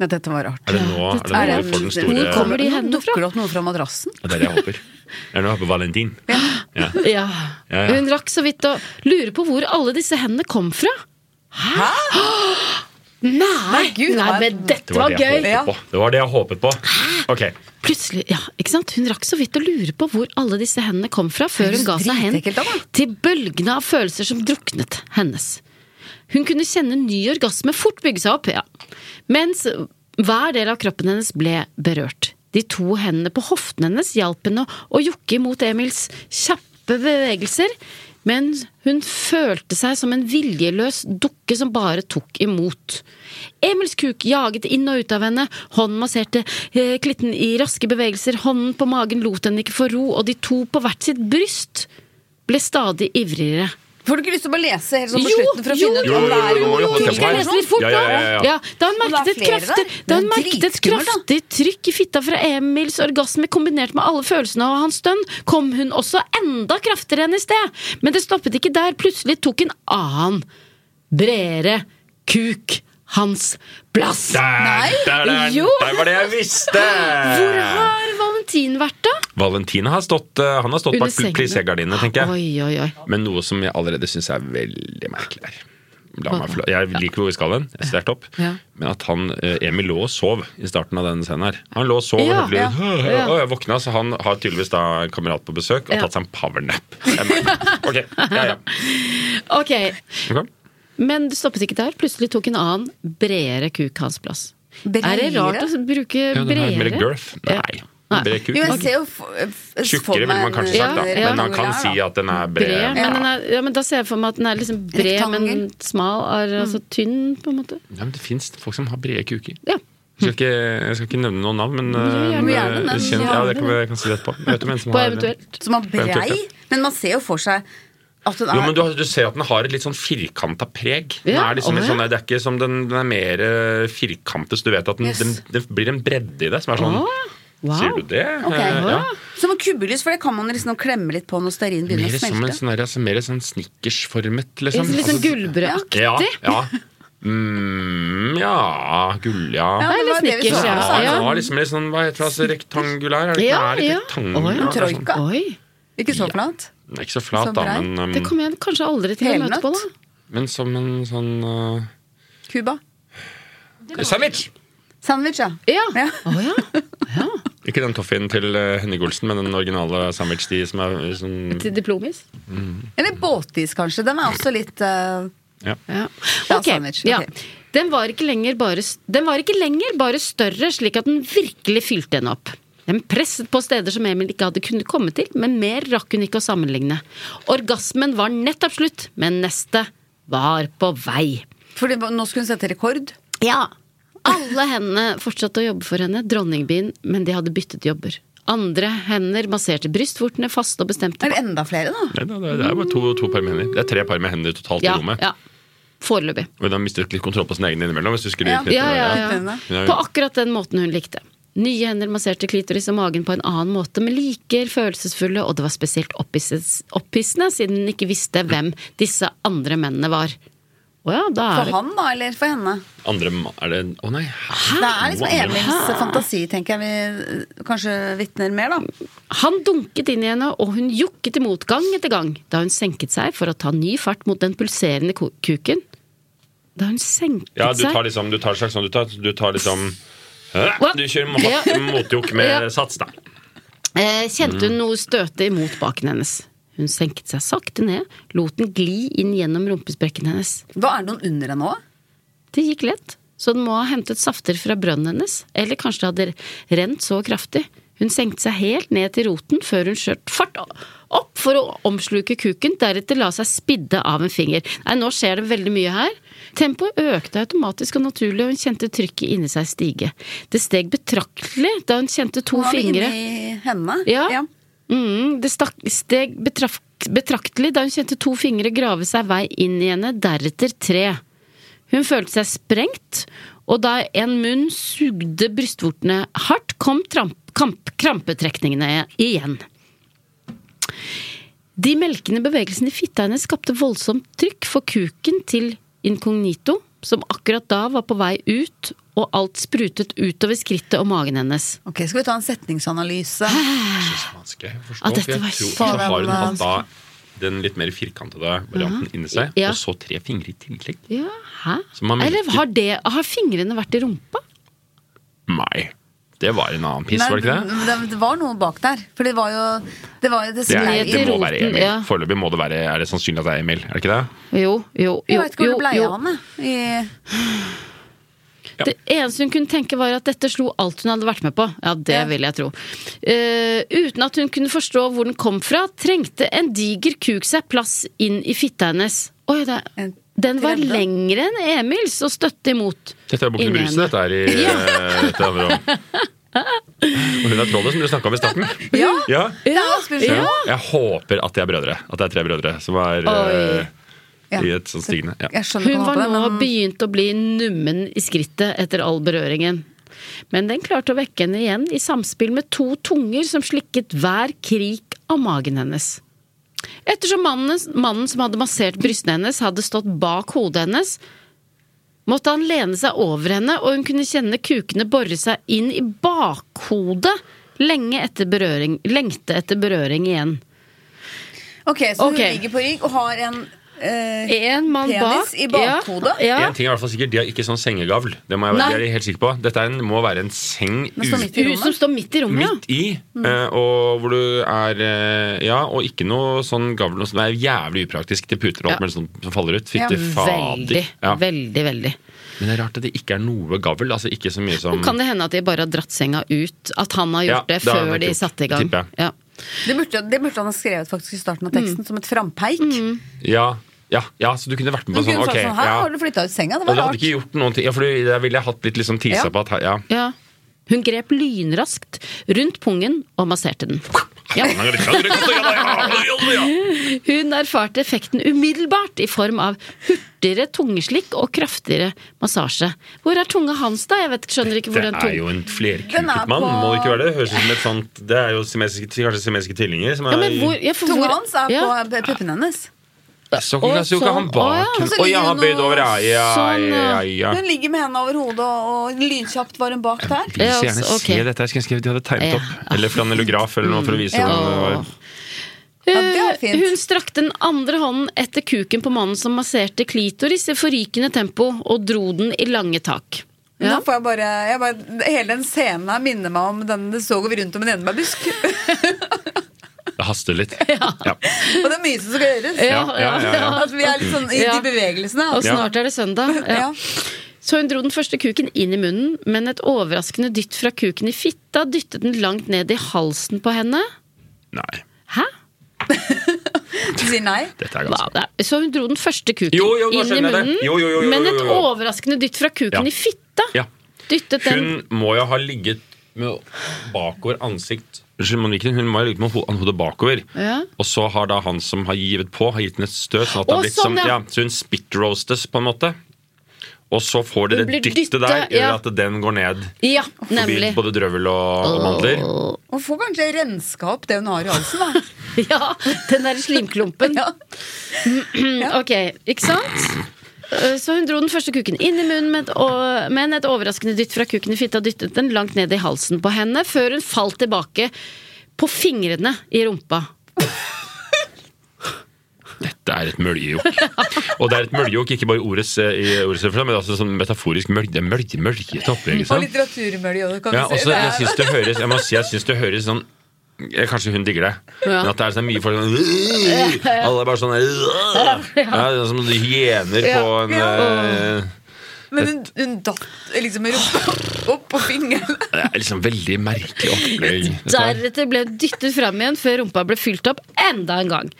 Nei, dette var rart. Er det nå er det nå Er du det- får den Hvor store kommer de Nå hendene fra? Dukker det opp noe fra madrassen? Ja, Det er det jeg håper. Det er nå jeg håper Valentin. (laughs) Ja. Ja, ja. Hun rakk så vidt å lure på hvor alle disse hendene kom fra. Hæ? Nei, Nei, Gud, nei, nei. men dette Det var var det jeg gøy! Ja. håpet på. Det var det jeg håpet på. Ok, Plutselig, ja, ikke sant? Hun rakk så vidt å lure på hvor alle disse hendene kom fra, før hun ga seg hen dritekkelt da, da. til bølgene av følelser som druknet hennes. Hun kunne kjenne ny orgasme fort bygge seg opp, ja. mens hver del av kroppen hennes ble berørt. De to hendene på hoften hennes hjalp henne å jokke imot Emils kjappe bevegelser. Men hun følte seg som en viljeløs dukke som bare tok imot. Emils kuk jaget inn og ut av henne, hånden masserte eh, klitten i raske bevegelser, hånden på magen lot henne ikke få ro, og de to på hvert sitt bryst ble stadig ivrigere. Får du ikke lyst til å bare lese helt sånn på slutten for å finne ut jo, om det jo, jo, jo, er jo, Skal jeg lese litt fort, Ja, da? ja, ja, ja. da hun Og det er merket et flere kraftig, der. da hun Det er merket et dritskummelt, da. kraftig trykk i fitta fra Emils orgasme kombinert med alle følelsene og hans stønn, kom hun også enda kraftigere enn i sted. Men det stoppet ikke der. Plutselig tok en annen, bredere kuk hans plass. Der, der, der, Jo. der var det jeg visste! Hvor har Valentin vært, da? Valentin har stått, eh, han har stått bak sengen. plissegardinene, tenker jeg. Oi, oi, oi. Men noe som jeg allerede syns er veldig merkelig her. La meg få lov- Jeg liker hvor vi skal hen. Jeg synes det er topp. Ja. Men at han, eh, Emil lå og sov i starten av denne scenen her. Han lå og sov Ja, og hørte litt ja, ja. Og jeg våkna, så han har tydeligvis da en kamerat på besøk og Ja. tatt seg en powernap. Det er merkelig. Ok, ja, ja. Ok, Ok. Men det stoppet ikke der. Plutselig tok en annen bredere kuk hans plass. Bredere? Er det rart å bruke Ja, den har mer bredere? girth. Nei. Nei. Bred kuk. Jo, jeg Ok. ser jo for- eh, for Tjukkere ville man kanskje Ja, sagt, da. ja. Men han kan si at den er bred. Bred, Ja. men, den er, ja, men da ser jeg for meg at den er liksom bred, men Rektangel. smal. Er, Mm. altså tynn, på en måte. Ja, men det fins folk som har brede kuker. Ja. Jeg skal, ikke, jeg skal ikke nevne noen navn, men eh, gjerne, men, gjerne, eh, men kjent, ja, det kan gjerne. vi jeg kan si det etterpå. Jeg vet om en som På har- eventuelt. Som er brei, Eventuelt, men man ser jo for seg at hun er Jo, men du, har- du ser at den har et litt sånn firkanta preg. Den Ja, er liksom litt å, ja. sånn, det er ikke som den, den er mer eh, firkantet, så du vet at den, Yes. den, det blir en bredde i det som er sånn Å, Sier wow. du det? Ok. Eh, ja. Som en kubbelys, for det kan man liksom klemme litt på når stearin begynner å Mer som en smelte. sånn, der, altså, mer sånn snickersformet, liksom. Litt sånn Altså, gullbrødaktig. Ja, ja. Mm, ja, gull, ja. Ja, Nei, det litt var det vi så snickers, for oss, Ja, ja. den var liksom litt sånn, hva heter det, altså, rektangulær? Er det ikke, Ja, er det ikke ja. rektangulær? Å, ja. Det er sånn- Troika. Oi! Ikke så flaut. Den er Ikke så flat, Så da, brei. men, um, Det kommer jeg kanskje aldri til å møte på, da. Helnøtt. men som en sånn uh, Cuba. Sandwich! Sandwich, ja. Ja. Ja. Å, ja. ja. Ikke den toffeen til eh, Henning Olsen, men den originale sandwich de som er eh, sånn Til diplomis. Eller båtis, kanskje. Den er også litt eh, ja. Ja. Ja, Ok, sandwich, ja. ok. Den, var ikke lenger bare, den var ikke lenger bare større, slik at den virkelig fylte henne opp. Den presset på steder som Emil ikke hadde kunnet komme til, men mer rakk hun ikke å sammenligne. Orgasmen var nettopp slutt, men neste var på vei. Fordi nå skulle hun sette rekord. Ja. Alle hendene fortsatte å jobbe for henne, dronningbyen, men de hadde byttet jobber. Andre hender masserte brystvortene faste og bestemte Eller enda flere, da. Nei, da, det, det er bare to, to par med hender. Det er tre par med hender totalt Ja, i rommet. ja. Foreløpig. Og hun har mistet litt kontroll på sine egne innimellom. Hvis du skulle Ja. knytte Ja, det, ja, ja. ja. Ja, ja. På akkurat den måten hun likte. Nye hender masserte klitoris og magen på en annen måte, men like følelsesfulle, og det var spesielt opphisses- opphissende, siden hun ikke visste hvem disse andre mennene var. Å ja, da er For det han, da, eller for henne. Andre ma- Er det Å nei. Det er liksom Emils fantasi, tenker jeg, vi eh, kanskje vitner mer, da. Han dunket inn i henne, og hun jukket imot gang etter gang, da hun senket seg for å ta ny fart mot den pulserende ko- kuken. Da hun senket Ja, du seg tar liksom Du tar slags sånn Du tar, du tar liksom Hæ? Hva? Du kjører mot, Ja. motjokk med Ja. sats, da. Eh, kjente Mm. hun noe støte imot baken hennes. Hun senket seg sakte ned, lot den gli inn gjennom rumpesprekken hennes. Hva er det noen under henne òg? Det gikk lett, så den må ha hentet safter fra brønnen hennes, eller kanskje det hadde rent så kraftig. Hun senkte seg helt ned til roten før hun skjøt fart opp for å omsluke kuken, deretter la seg spidde av en finger. Nei, nå skjer det veldig mye her. Tempoet økte automatisk og naturlig, og hun kjente trykket inni seg stige. Det steg betraktelig da hun kjente to Hun var fingre. inni henne. Ja. Mm, det stak, steg betraf, betraktelig da hun kjente to fingre grave seg vei inn i henne, deretter tre. Hun følte seg sprengt, og da en munn sugde brystvortene hardt, kom tramp, kamp, krampetrekningene igjen. De melkende bevegelsene i fitta hennes skapte voldsomt trykk for kuken til inkognito, som akkurat da var på vei ut, og alt sprutet utover skrittet og magen hennes. Ok, Skal vi ta en setningsanalyse? så vanskelig å forstå. At dette for jeg var så tror, så har hun hatt vanskelig. da den litt mer firkantede varianten inni seg, Ja. og så tre fingre i tillegg. Ja, hæ? Så man Eller melker- har, det, har fingrene vært i rumpa? Nei. Det var en annen piss, Nei, var det ikke det? det? Det var noe bak der. For det var jo Det, var jo, det, Det, sklei er, ned det til må roten, være Emil. ja. Foreløpig må det være, er det sannsynlig at det er Emil. er det ikke Jo, det? jo, jo. Jeg veit ikke hvor jo, det blei jo. av han, jeg. I- Det eneste hun kunne tenke var at dette slo alt hun hadde vært med på. Ja, det Ja. vil jeg tro. Eh, uten at hun kunne forstå hvor den kom fra, trengte en diger kuk seg plass inn i fitta hennes. Oi, det, En den var trevle. lengre enn Emils og støtte imot. Dette er Bukken Inni Bruse, henne. dette er i eh, dette handler om. Og hun er trollet som du snakka om i starten. Ja, Ja. det er Asbjørnsen. Ja. Jeg håper at de er brødre. At det er tre brødre som er eh, Ja. i et sånt stigende. Ja. Jeg skjønner Hun ikke var hva nå det, men begynt å bli nummen i skrittet etter all berøringen. Men den klarte å vekke henne igjen i samspill med to tunger som slikket hver krik av magen hennes. Ettersom mannen, mannen som hadde massert brystene hennes, hadde stått bak hodet hennes, måtte han lene seg over henne, og hun kunne kjenne kukene bore seg inn i bakhodet lenge etter berøring, lengte etter berøring igjen. Ok, så hun Ok. ligger på rygg og har en eh, En mann Penis bak i bakhodet? Ja, ja. En ting er i hvert fall sikkert, De har ikke sånn sengegavl. Det, må jeg, Nei. det er de helt sikker på. Dette er en, må være en seng Den står ut- midt i Mm. Hun som rommet. står midt i rommet, ja. midt i, eh, og hvor du er eh, Ja, og ikke noe sånn gavl. noe sånt. Det er jævlig upraktisk til puter og alt Ja. mulig sånt som faller ut. Ja, Fytti fader. Veldig, Ja. veldig, veldig. Men det er rart at det ikke er noe gavl. Altså ikke så mye som Kan det hende at de bare har dratt senga ut? At han har Ja, gjort det det har han før nok de gjort, satte i gang? tipper Ja. det, burde, det burde han ha skrevet faktisk i starten av Mm. teksten, som et frampeik. Ja, ja, ja, så du kunne vært med Hun på kunne Mm. sånn. sagt ok, sånn, her ja. har du flytta ut senga, det Og var det hadde rart. ikke gjort noen ting. Ja, for der ville jeg hatt litt liksom tisa Ja. på at her- ja. ja. Hun grep lynraskt rundt pungen og masserte den. Ja. sånn Hun erfarte effekten umiddelbart i form av hurtigere tungeslikk og kraftigere massasje. Hvor er tunga hans, da? Jeg vet, ikke- skjønner ikke hvor Det den er tunga jo en Den er flerkuket på- mann, må det ikke være det? Høres ut som et sånt Det er jo siamesiske- kanskje semesiske tvillinger som er ja, men hvor, ja, for hvor- Tunga hans er ja. på puppene hennes. Så ikke Og så ikke han sånn, bak. å ja, Å og så ja, ligger han hun bøyd og- over. Ja, ja, Sånn, ja. ja, ja. Hun ligger med hendene over hodet, og, og lynkjapt var hun bak der. Jeg vil så Ja, gjerne altså, ok. se dette. Jeg skulle ønske de hadde tegnet Ja. opp. Eller (laughs) flanellograf eller noe for å vise hvordan det var. Ja, det er fint. Hun strakte den andre hånden etter kuken på mannen som masserte klitoris i forrykende tempo, og dro den i lange tak. Ja. Nå får jeg bare, jeg bare Hele den scenen her minner meg om den det så over rundt om en enebærbusk. Det haster litt. Ja. (laughs) og det er mye som skal gjøres. Ja, ja, ja, ja. At vi er litt sånn i Ja. de bevegelsene. Og Altså. snart er det søndag. Ja. Ja. Så hun dro den første kuken inn i munnen, men et overraskende dytt fra kuken i fitta dyttet den langt ned i halsen på henne. Nei, Hæ? Du sier nei. dette er Hva? ganske Det er- Så hun dro den første kuken Jo, jo, nå inn i skjønner jeg det. munnen, Jo, jo, jo, jo, men jo, et jo, jo. overraskende dytt fra kuken Ja. i fitta Ja. dyttet den Hun må jo ha ligget med bakover ansikt Unnskyld, Monique, hun må ha ligget med ho- hodet bakover. Ja. Og så har da han som har givet på, har gitt henne et støt. Sånn at det Å, har blitt sånn, som, ja. ja. så hun spit-roastes, på en måte. Og så får de Hun det blir dyttet dyttet, der, gjør ja. at den går ned Ja, forbi nemlig. både drøvel og, og mandler. Hun får kanskje renska opp det hun har i halsen. Da. Ja, den der slimklumpen. Ja. Ok, ikke sant? Eh, Så hun dro den første kuken inn i munnen, men et, å- men et overraskende dytt fra kuken i fitta dyttet den langt ned i halsen på henne, før hun falt tilbake på fingrene i rumpa. Det er et møljejokk. Og det er et møljejokk, ikke bare i ordets, eh, i ordets referanse, men altså sånn metaforisk mølje, det er mølje, møljete opplegg. Og Liksom. litteraturmølje. og det kan Ja, altså, eh, vi si. Det er- også, jeg syns det høres Jeg må si jeg syns det høres sånn eh, Kanskje hun digger det, Ja. men at det er så mye folk sånn "Øh!" Alle er bare sånn "Øh!" ja, det er Som hyener på en eh, Men hun, hun datt liksom med rumpa opp på fingeren. Det er liksom veldig merkelig opplegg. dette her. Deretter ble hun dyttet fram igjen før rumpa ble fylt opp enda en gang.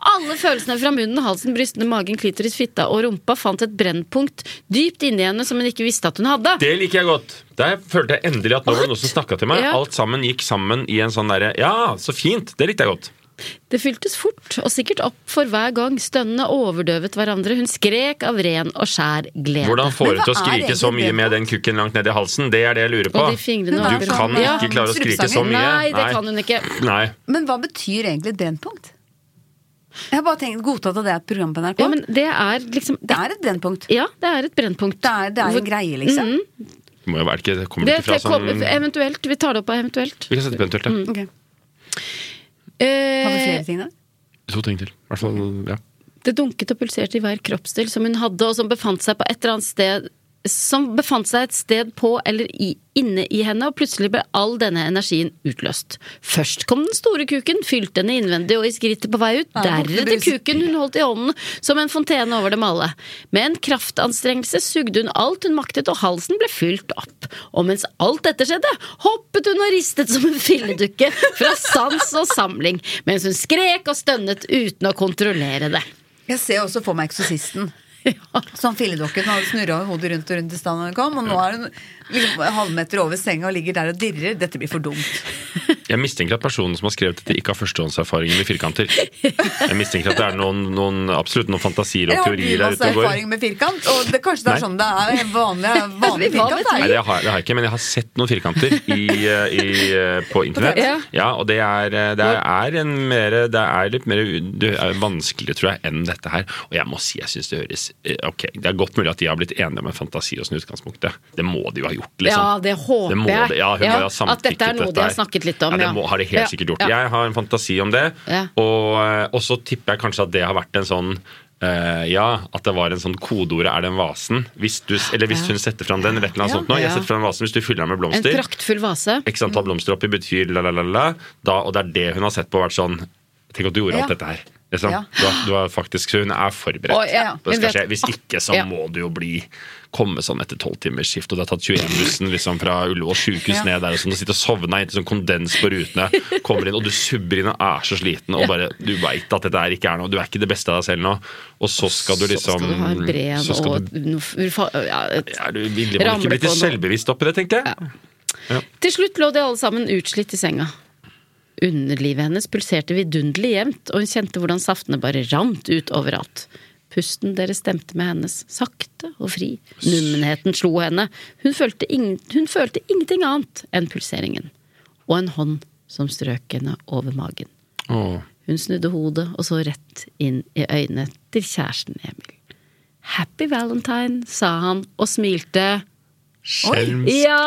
Alle følelsene fra munnen, halsen, brystene, magen, klitoris, fitta og rumpa fant et brennpunkt dypt inni henne som hun ikke visste at hun hadde. Det liker jeg godt. Der følte jeg endelig at nå var det noen som snakka til meg. Ja. Alt sammen gikk sammen i en sånn derre Ja, så fint! Det likte jeg godt. Det fyltes fort, og sikkert opp for hver gang. Stønnene overdøvet hverandre. Hun skrek av ren og skjær glede. Hvordan får Men du til å hva er skrike så egentlig mye det med da? den kukken langt ned i halsen? Det er det jeg lurer på. Og de fingrene Hun er Du over. kan Ja. ikke klare å skrike så Strupesanger. mye. Nei, det kan hun ikke. Nei. Men hva betyr egentlig et brennpunkt? Jeg har bare tenkt godtatt at det er et program på NRK. Ja, men det er liksom det er et brennpunkt. Ja, det er et brennpunkt. Det er, det er Hvor- en greie, liksom. Det må jo være ikke, det kommer Det, ikke fra det kom, sånn eventuelt. Vi tar det opp av eventuelt. Vi kan sette på eventuelt, ja. Ok. Har vi Eh, flere ting der? To ting til. I hvert fall, ja. det dunket og pulserte i hver kroppsdel som hun hadde, og som befant seg på et eller annet sted som befant seg et sted på eller i, inne i henne, og plutselig ble all denne energien utløst. Først kom den store kuken, fylte henne innvendig og i skrittet på vei ut, Ja, borte deretter brus. kuken hun holdt i hånden som en fontene over dem alle. Med en kraftanstrengelse sugde hun alt hun maktet, og halsen ble fylt opp. Og mens alt dette skjedde, hoppet hun og ristet som en filledukke fra sans og samling, mens hun skrek og stønnet uten å kontrollere det. Jeg ser også for meg Eksorsisten. (laughs) Ja. Sånn filledokken hadde snurra hodet rundt og rundt i stand da hun kom, og nå er hun liksom halvmeter over senga og ligger der og dirrer. Dette blir for dumt. Jeg mistenker at personen som har skrevet dette, ikke har førstehåndserfaring (laughs) med firkanter. Jeg mistenker at det er noen, noen absolutt noen fantasier Jeg og har teorier der masse ute og går. erfaring med firkant, og det, kanskje det er Nei. sånn det er (laughs) vanlig, Hva vanlig vet firkant. jeg? Nei, Er. det har, det har jeg ikke, men jeg har sett noen firkanter i, eh, i, eh, på internett. Ja. Ja, og det er, eh, det er, en mer, det er litt mer det er vanskeligere, tror jeg, enn dette her. Og jeg må si jeg syns det høres eh, Ok, det er godt mulig at de har blitt enige om en fantasi og sånn i utgangspunktet. Det må de jo ha gjort, liksom. Ja, det håper må jeg. det- Ja, hun Ja, må jo ha samtykket at dette er noe de har her. snakket litt om, Ja, ja. det må, har de helt Ja, sikkert gjort. ja. Jeg har en fantasi om det, Ja. og, eh, og så tipper jeg kanskje at det har vært en sånn eh, ja, at det var en sånn kodeordet 'er den vasen'? Hvis du, eller hvis hun setter fram den, eller et eller annet Ja. sånt nå. Jeg Ja. setter fram vasen hvis du fyller den med En blomster. praktfull vase. X antall blomster oppi betyr la, la, la, la. Da, og det er det hun har sett på og vært sånn Tenk at du gjorde alt Ja. dette her. Liksom. Ja. Du, har, du har faktisk, så hun er forberedt. Å, ja. på det Hun skal skje. vet- Hvis ikke, så Ja. må du jo bli komme sånn etter tolvtimersskift, og du har tatt 21-bussen liksom, fra Ullevål Ja. sjukehus ned der, og sånn, og sitter og sovner inntil sånn kondens på rutene, kommer inn, og du subber inn og er så sliten, og bare, du veit at dette her ikke er noe, du er ikke det beste av deg selv nå, og så skal du liksom Så skal du ha en bred så skal og du- noe fa- ja, et, ja, du, Ville man ramle ikke blitt på litt noe. selvbevisst oppi det, tenker jeg? Til slutt lå de alle sammen utslitt i senga. Underlivet hennes pulserte vidunderlig jevnt, og hun kjente hvordan saftene bare rant ut overalt. Pusten deres stemte med hennes, sakte og fri. Nummenheten slo henne. Hun følte, ingen, hun følte ingenting annet enn pulseringen. Og en hånd som strøk henne over magen. Åh. Hun snudde hodet og så rett inn i øynene til kjæresten Emil. Happy Valentine, sa han og smilte. Skjelms. Ja!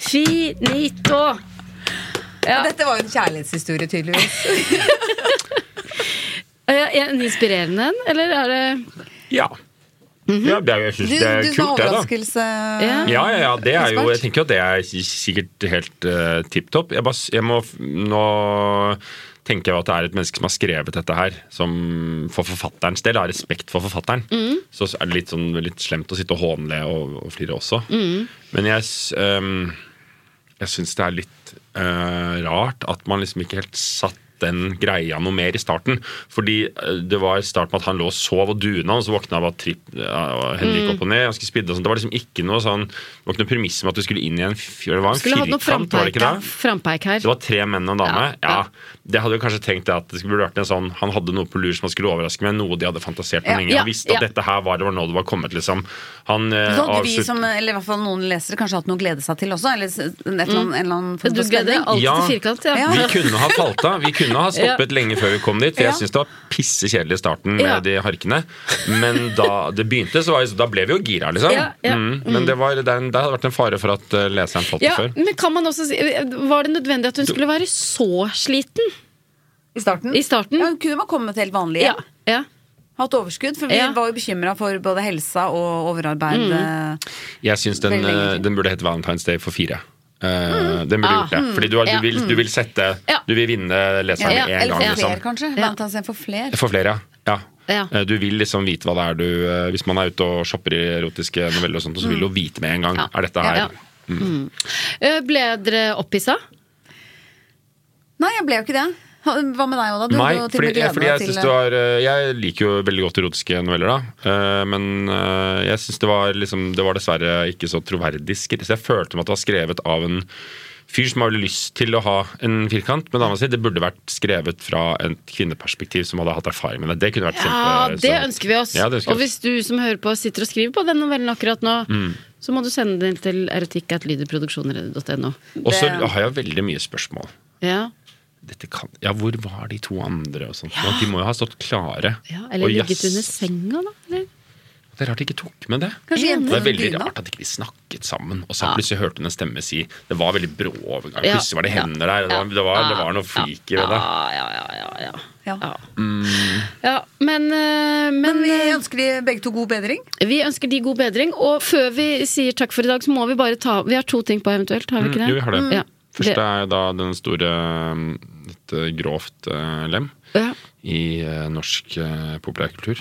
Finito! Ja. Dette var jo en kjærlighetshistorie, tydeligvis. Er den inspirerende en, eller er det Ja. ja det, er- jeg Mhm. syns Du, det er du sa kult, det, da. overraskelse. Ja. Ja, ja, ja, det er jo, Ekspert. jeg tenker jo at det er s- sikkert helt uh, tipp topp. Jeg, bare s- jeg må f- Nå tenker jeg jo at det er et menneske som har skrevet dette her, som for forfatterens del har respekt for forfatteren. Mhm. Så er det litt, sånn, litt slemt å sitte og hånle og, og flire også. Mhm. Men jeg, s- ehm, jeg syns det er litt eh, rart at man liksom ikke helt satt den greia noe mer i starten. Fordi eh, det var i starten med at han lå og sov og duna, og så våkna han av at tripp, ja, henne Mm. gikk opp og ned. Ganske spidde og sånt. Det var liksom ikke noe sånn Det var ikke noe premiss med at du skulle inn i en, f- det var en Skulle hatt noe firkant, var det frampeik, ikke det? frampeik her. Det var tre menn og en dame. Ja, Ja, ja. Det hadde jo kanskje tenkt det at det skulle vært en sånn Han hadde noe på lur som han skulle overraske med, noe de hadde fantasert om Ja, lenge. ja, Han visste ja. Sånn, at dette her var det var nå det var kommet, liksom. Han eh, Så hadde vi avslutt- som, eller i hvert fall noen lesere, kanskje hatt noe å glede seg til også? Eller s- et eller Mm. annet, en eller annen form Du for gleder spenning? deg alltid Ja. til firkant, ja. Ja. Vi kunne ha falt av. Vi (laughs) kunne ha stoppet lenge før vi kom dit. For Ja. jeg syns det var pissekjedelig i starten med Ja. de harkene. Men da det begynte, så var jeg, da ble vi jo gira, liksom. Ja, ja. Mm. Men det, var, det, er en- det hadde vært en fare for at eh, leseren falt Ja, av før. men kan man også si, Var det nødvendig at hun skulle være så sliten I starten? i starten? Ja, hun kunne man kommet helt vanlig Ja, hjem. ja. Hatt overskudd. For vi Ja. var jo bekymra for både helsa og overarbeid. Mm. eh, Jeg syns den, Veldig lenge eh, til. den burde hete Valentine's Day for fire. Eh, Den burde Ah. gjort det. Fordi du, har, Ja. du, vil, du vil sette Ja. Du vil vinne leseren Ja, ja. med en Eller gang, for liksom. flere, kanskje. Ja. Blant annet for flere. For flere, ja. Ja. Eh, Du vil liksom vite hva det er du eh, Hvis man er ute og shopper i erotiske noveller, og sånt, så vil du jo vite med en gang. Mm. Ja. Er dette her Ja, ja. Eh, Ble dere opphissa? Nei, jeg ble jo ikke det. Ha- Hva med deg, Oda? Du Nei, hadde jo til og fordi, med gledet fordi deg jeg, til synes det var, eh, jeg liker jo veldig godt erotiske noveller, da. Eh, Men eh, jeg syns det, var liksom, det var dessverre ikke så troverdig skrevet. Så jeg følte meg at det var skrevet av en fyr som hadde lyst til å ha en firkant med dama si. Det burde vært skrevet fra et kvinneperspektiv som hadde hatt erfaring med det. Det kunne vært Ja, det kjempe- så- ønsker vi oss. Ja, det ønsker og vi hvis oss. Mm. du som hører på sitter og skriver på den novellen akkurat nå, så må du sende den til erotikk.lyderproduksjoner.no. Og så Det- har jeg veldig mye spørsmål. Ja. Dette kan, ja, hvor var de to andre og sånt? De må jo ha stått klare. ja. Eller Og ligget jazz- under senga, da. Eller? Det er rart de ikke tok med det. eh, Kanskje Det jenter er veldig rart at ikke de snakket sammen. Og så plutselig hørte hun en stemme si Det var veldig brå overgang. Ja. Plutselig var det hender der. Det var, det var, det var noe freaky ved det. Ja, Mm. ja, ja. ja, ja. Ja. Ja. Ja, men, eh, men, Men vi eh, ønsker de begge to god bedring. vi ønsker de god bedring. Og før vi sier takk for i dag, så må vi bare ta Vi har to ting på eventuelt, har vi ikke det? Mm, Jo, vi har det. Ja. Først det, er da den store um, Et uh, grovt uh, lem ja. i uh, norsk uh, populærkultur.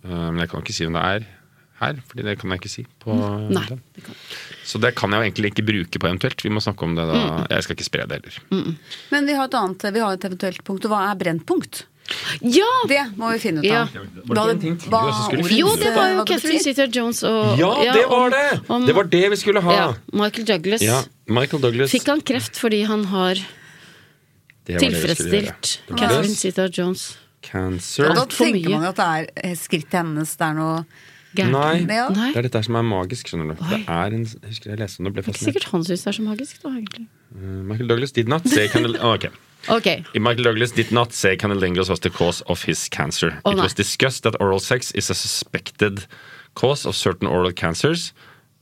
Uh, Men jeg kan ikke si hvem det er her, Fordi det kan jeg ikke si. På uh, Nei. den. Så det kan jeg jo egentlig ikke bruke på eventuelt. Vi må snakke om det da. Mm. Jeg skal ikke spre det heller. Men vi har et annet, vi har et eventuelt punkt. Og hva er Brennpunkt? ja! Det må vi finne ut Ja. av. Hva- hva ordet- Jo, det var jo hva det Catherine betyr. Zeta Jones og Ja, ja, det var om- det! om- Det var det vi skulle ha! Ja, Michael Douglas. Ja, Michael Douglas. Fikk han kreft fordi han har Det var det vi skulle tilfredsstilt gjøre. Catherine Douglas, Zeta Jones? Cancer. Og da for tenker mye. man jo at det er eh, skrittet hennes, det er noe Gæren. Nei. Ja. Nei. Det er dette her som er magisk, skjønner du. Oi. Det er en, jeg husker jeg leste om det og ble Det er ikke sikkert fascinert. han syns det er så magisk, da, egentlig. Uh, Michael Douglas did not say candel- oh, ok. Ok, Michael Douglas did not say canalingus was the cause of his cancer. Å, It nei. was discussed that oral sex is a suspected cause of certain oral cancers,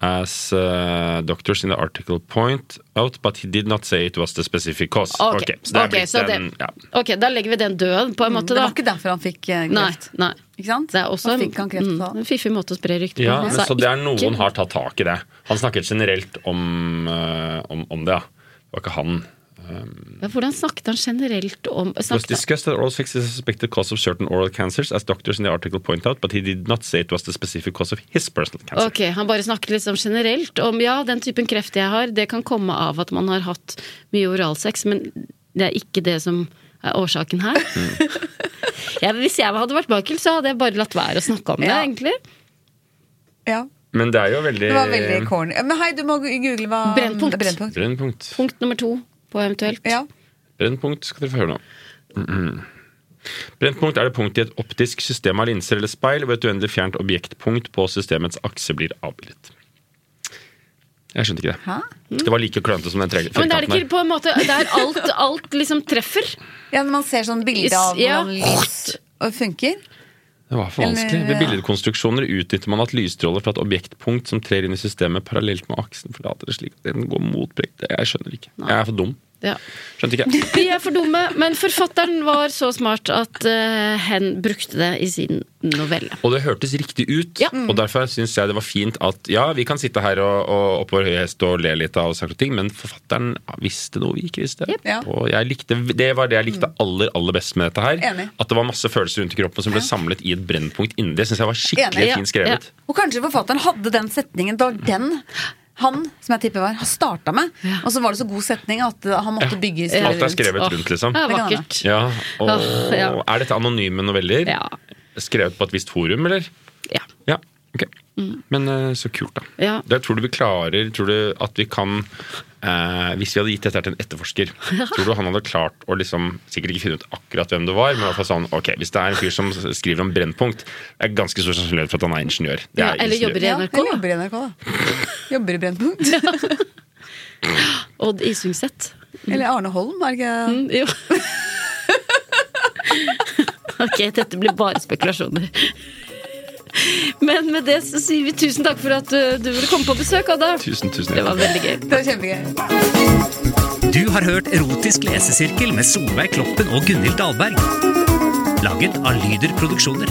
as uh, doctors in the article point out, but he did not say it was the specific cause. ok, Ok, så det er ok, blitt så det, en- ja. ok, da legger vi den død, på en måte, Mm, Det da. var ikke derfor han fikk eh, Nei, kreft. nei. Ikke sant? Det er også han en, fikk han kreft mm, av. en fiffig måte å spre rykter Ja, på. Han men sa så det er ikke- noen har tatt tak i det. Han snakket generelt om, eh, om, om det, ja. Det var ikke han. ja, Hvordan snakket han generelt om It was snakket han- discussed that oral sex is a suspected cause of certain oral cancers, as doctors in the article point out, but he did not say it was the specific cause of his personal cancer. Ok, Han bare snakket liksom generelt om ja, den typen kreft jeg har, det kan komme av at man har hatt mye oralsex, men det er ikke det som er årsaken her. Mm. ja, men hvis jeg hadde vært Michael, så hadde jeg bare latt være å snakke om det, Ja. egentlig. Ja, Men det er jo veldig, det var veldig Eh. corny. Men hei, du må google hva Brennpunkt. Brennpunkt. Brennpunkt. Punkt nummer to på eventuelt. Ja. Brennpunkt skal dere få høre nå. Mm. Brennpunkt er det punkt i et optisk system av linser eller speil hvor et uendelig fjernt objektpunkt på systemets akse blir avbildet. Jeg skjønte ikke det. Hæ? Det var like klønete som den tre- Men det er firkanten ikke her. på en måte Der alt, alt liksom treffer. ja, når man ser sånn bilde av Ja. hvordan lys og funker. Det var for vanskelig. Eller- Ved billedkonstruksjoner utnytter man at lysstråler fra et objektpunkt som trer inn i systemet parallelt med aksen, forlater det slik at den går mot brekket. Jeg skjønner ikke. Jeg er for dum. Ja. Skjønte ikke. (laughs) Vi er for dumme, men forfatteren var så smart at eh, hen brukte det i sin novelle. Og det hørtes riktig ut, Ja. og derfor syns jeg det var fint at ja, vi kan sitte her og, og oppå høy hest og le litt av saker og ting, men forfatteren visste noe vi ikke visste. Jep. Ja. Mm. Og jeg likte, det var det jeg likte aller aller best med dette her. Enig. At det var masse følelser rundt i kroppen som ble samlet i et brennpunkt inni. Det syns jeg var skikkelig Enig, ja. fint skrevet. Og kanskje forfatteren hadde den setningen. Det var den han som jeg tipper var, har starta med. Og så var det så god setning at eh, han måtte bygge historier Alt er rundt. skrevet Åh, rundt, liksom. Ja, Det kan vakkert. Ja, og Åh, ja. Er dette anonyme noveller? Ja. Skrevet på et visst forum, eller? Ja. Ja, ok. Men eh, så kult, da. Mm. Ja. Det tror du vi klarer Tror du at vi kan eh, Hvis vi hadde gitt dette her til en (laughs) etterforsker, tror du han hadde klart å liksom Sikkert ikke finne ut akkurat hvem det var, men i hvert fall sånn Ok, hvis det er en fyr som skriver om Brennpunkt, det er ganske stor sannsynlighet for at han er ingeniør. Det Ja, er eller ingeniør. jobber i Ja, NRK. eller jobber i NRK, da. Jobber i Brennpunkt. Odd Isungset. Eller Arne Holm, er det ikke Jo. ok, dette blir bare spekulasjoner. Men med det så sier vi tusen takk for at uh, du ville komme på besøk, Odda. Tusen, tusen Det hjertelig. var veldig gøy. Det var kjempegøy. Du har hørt Erotisk lesesirkel med Solveig Kloppen og Gunhild Dahlberg. Laget av Lyder Produksjoner.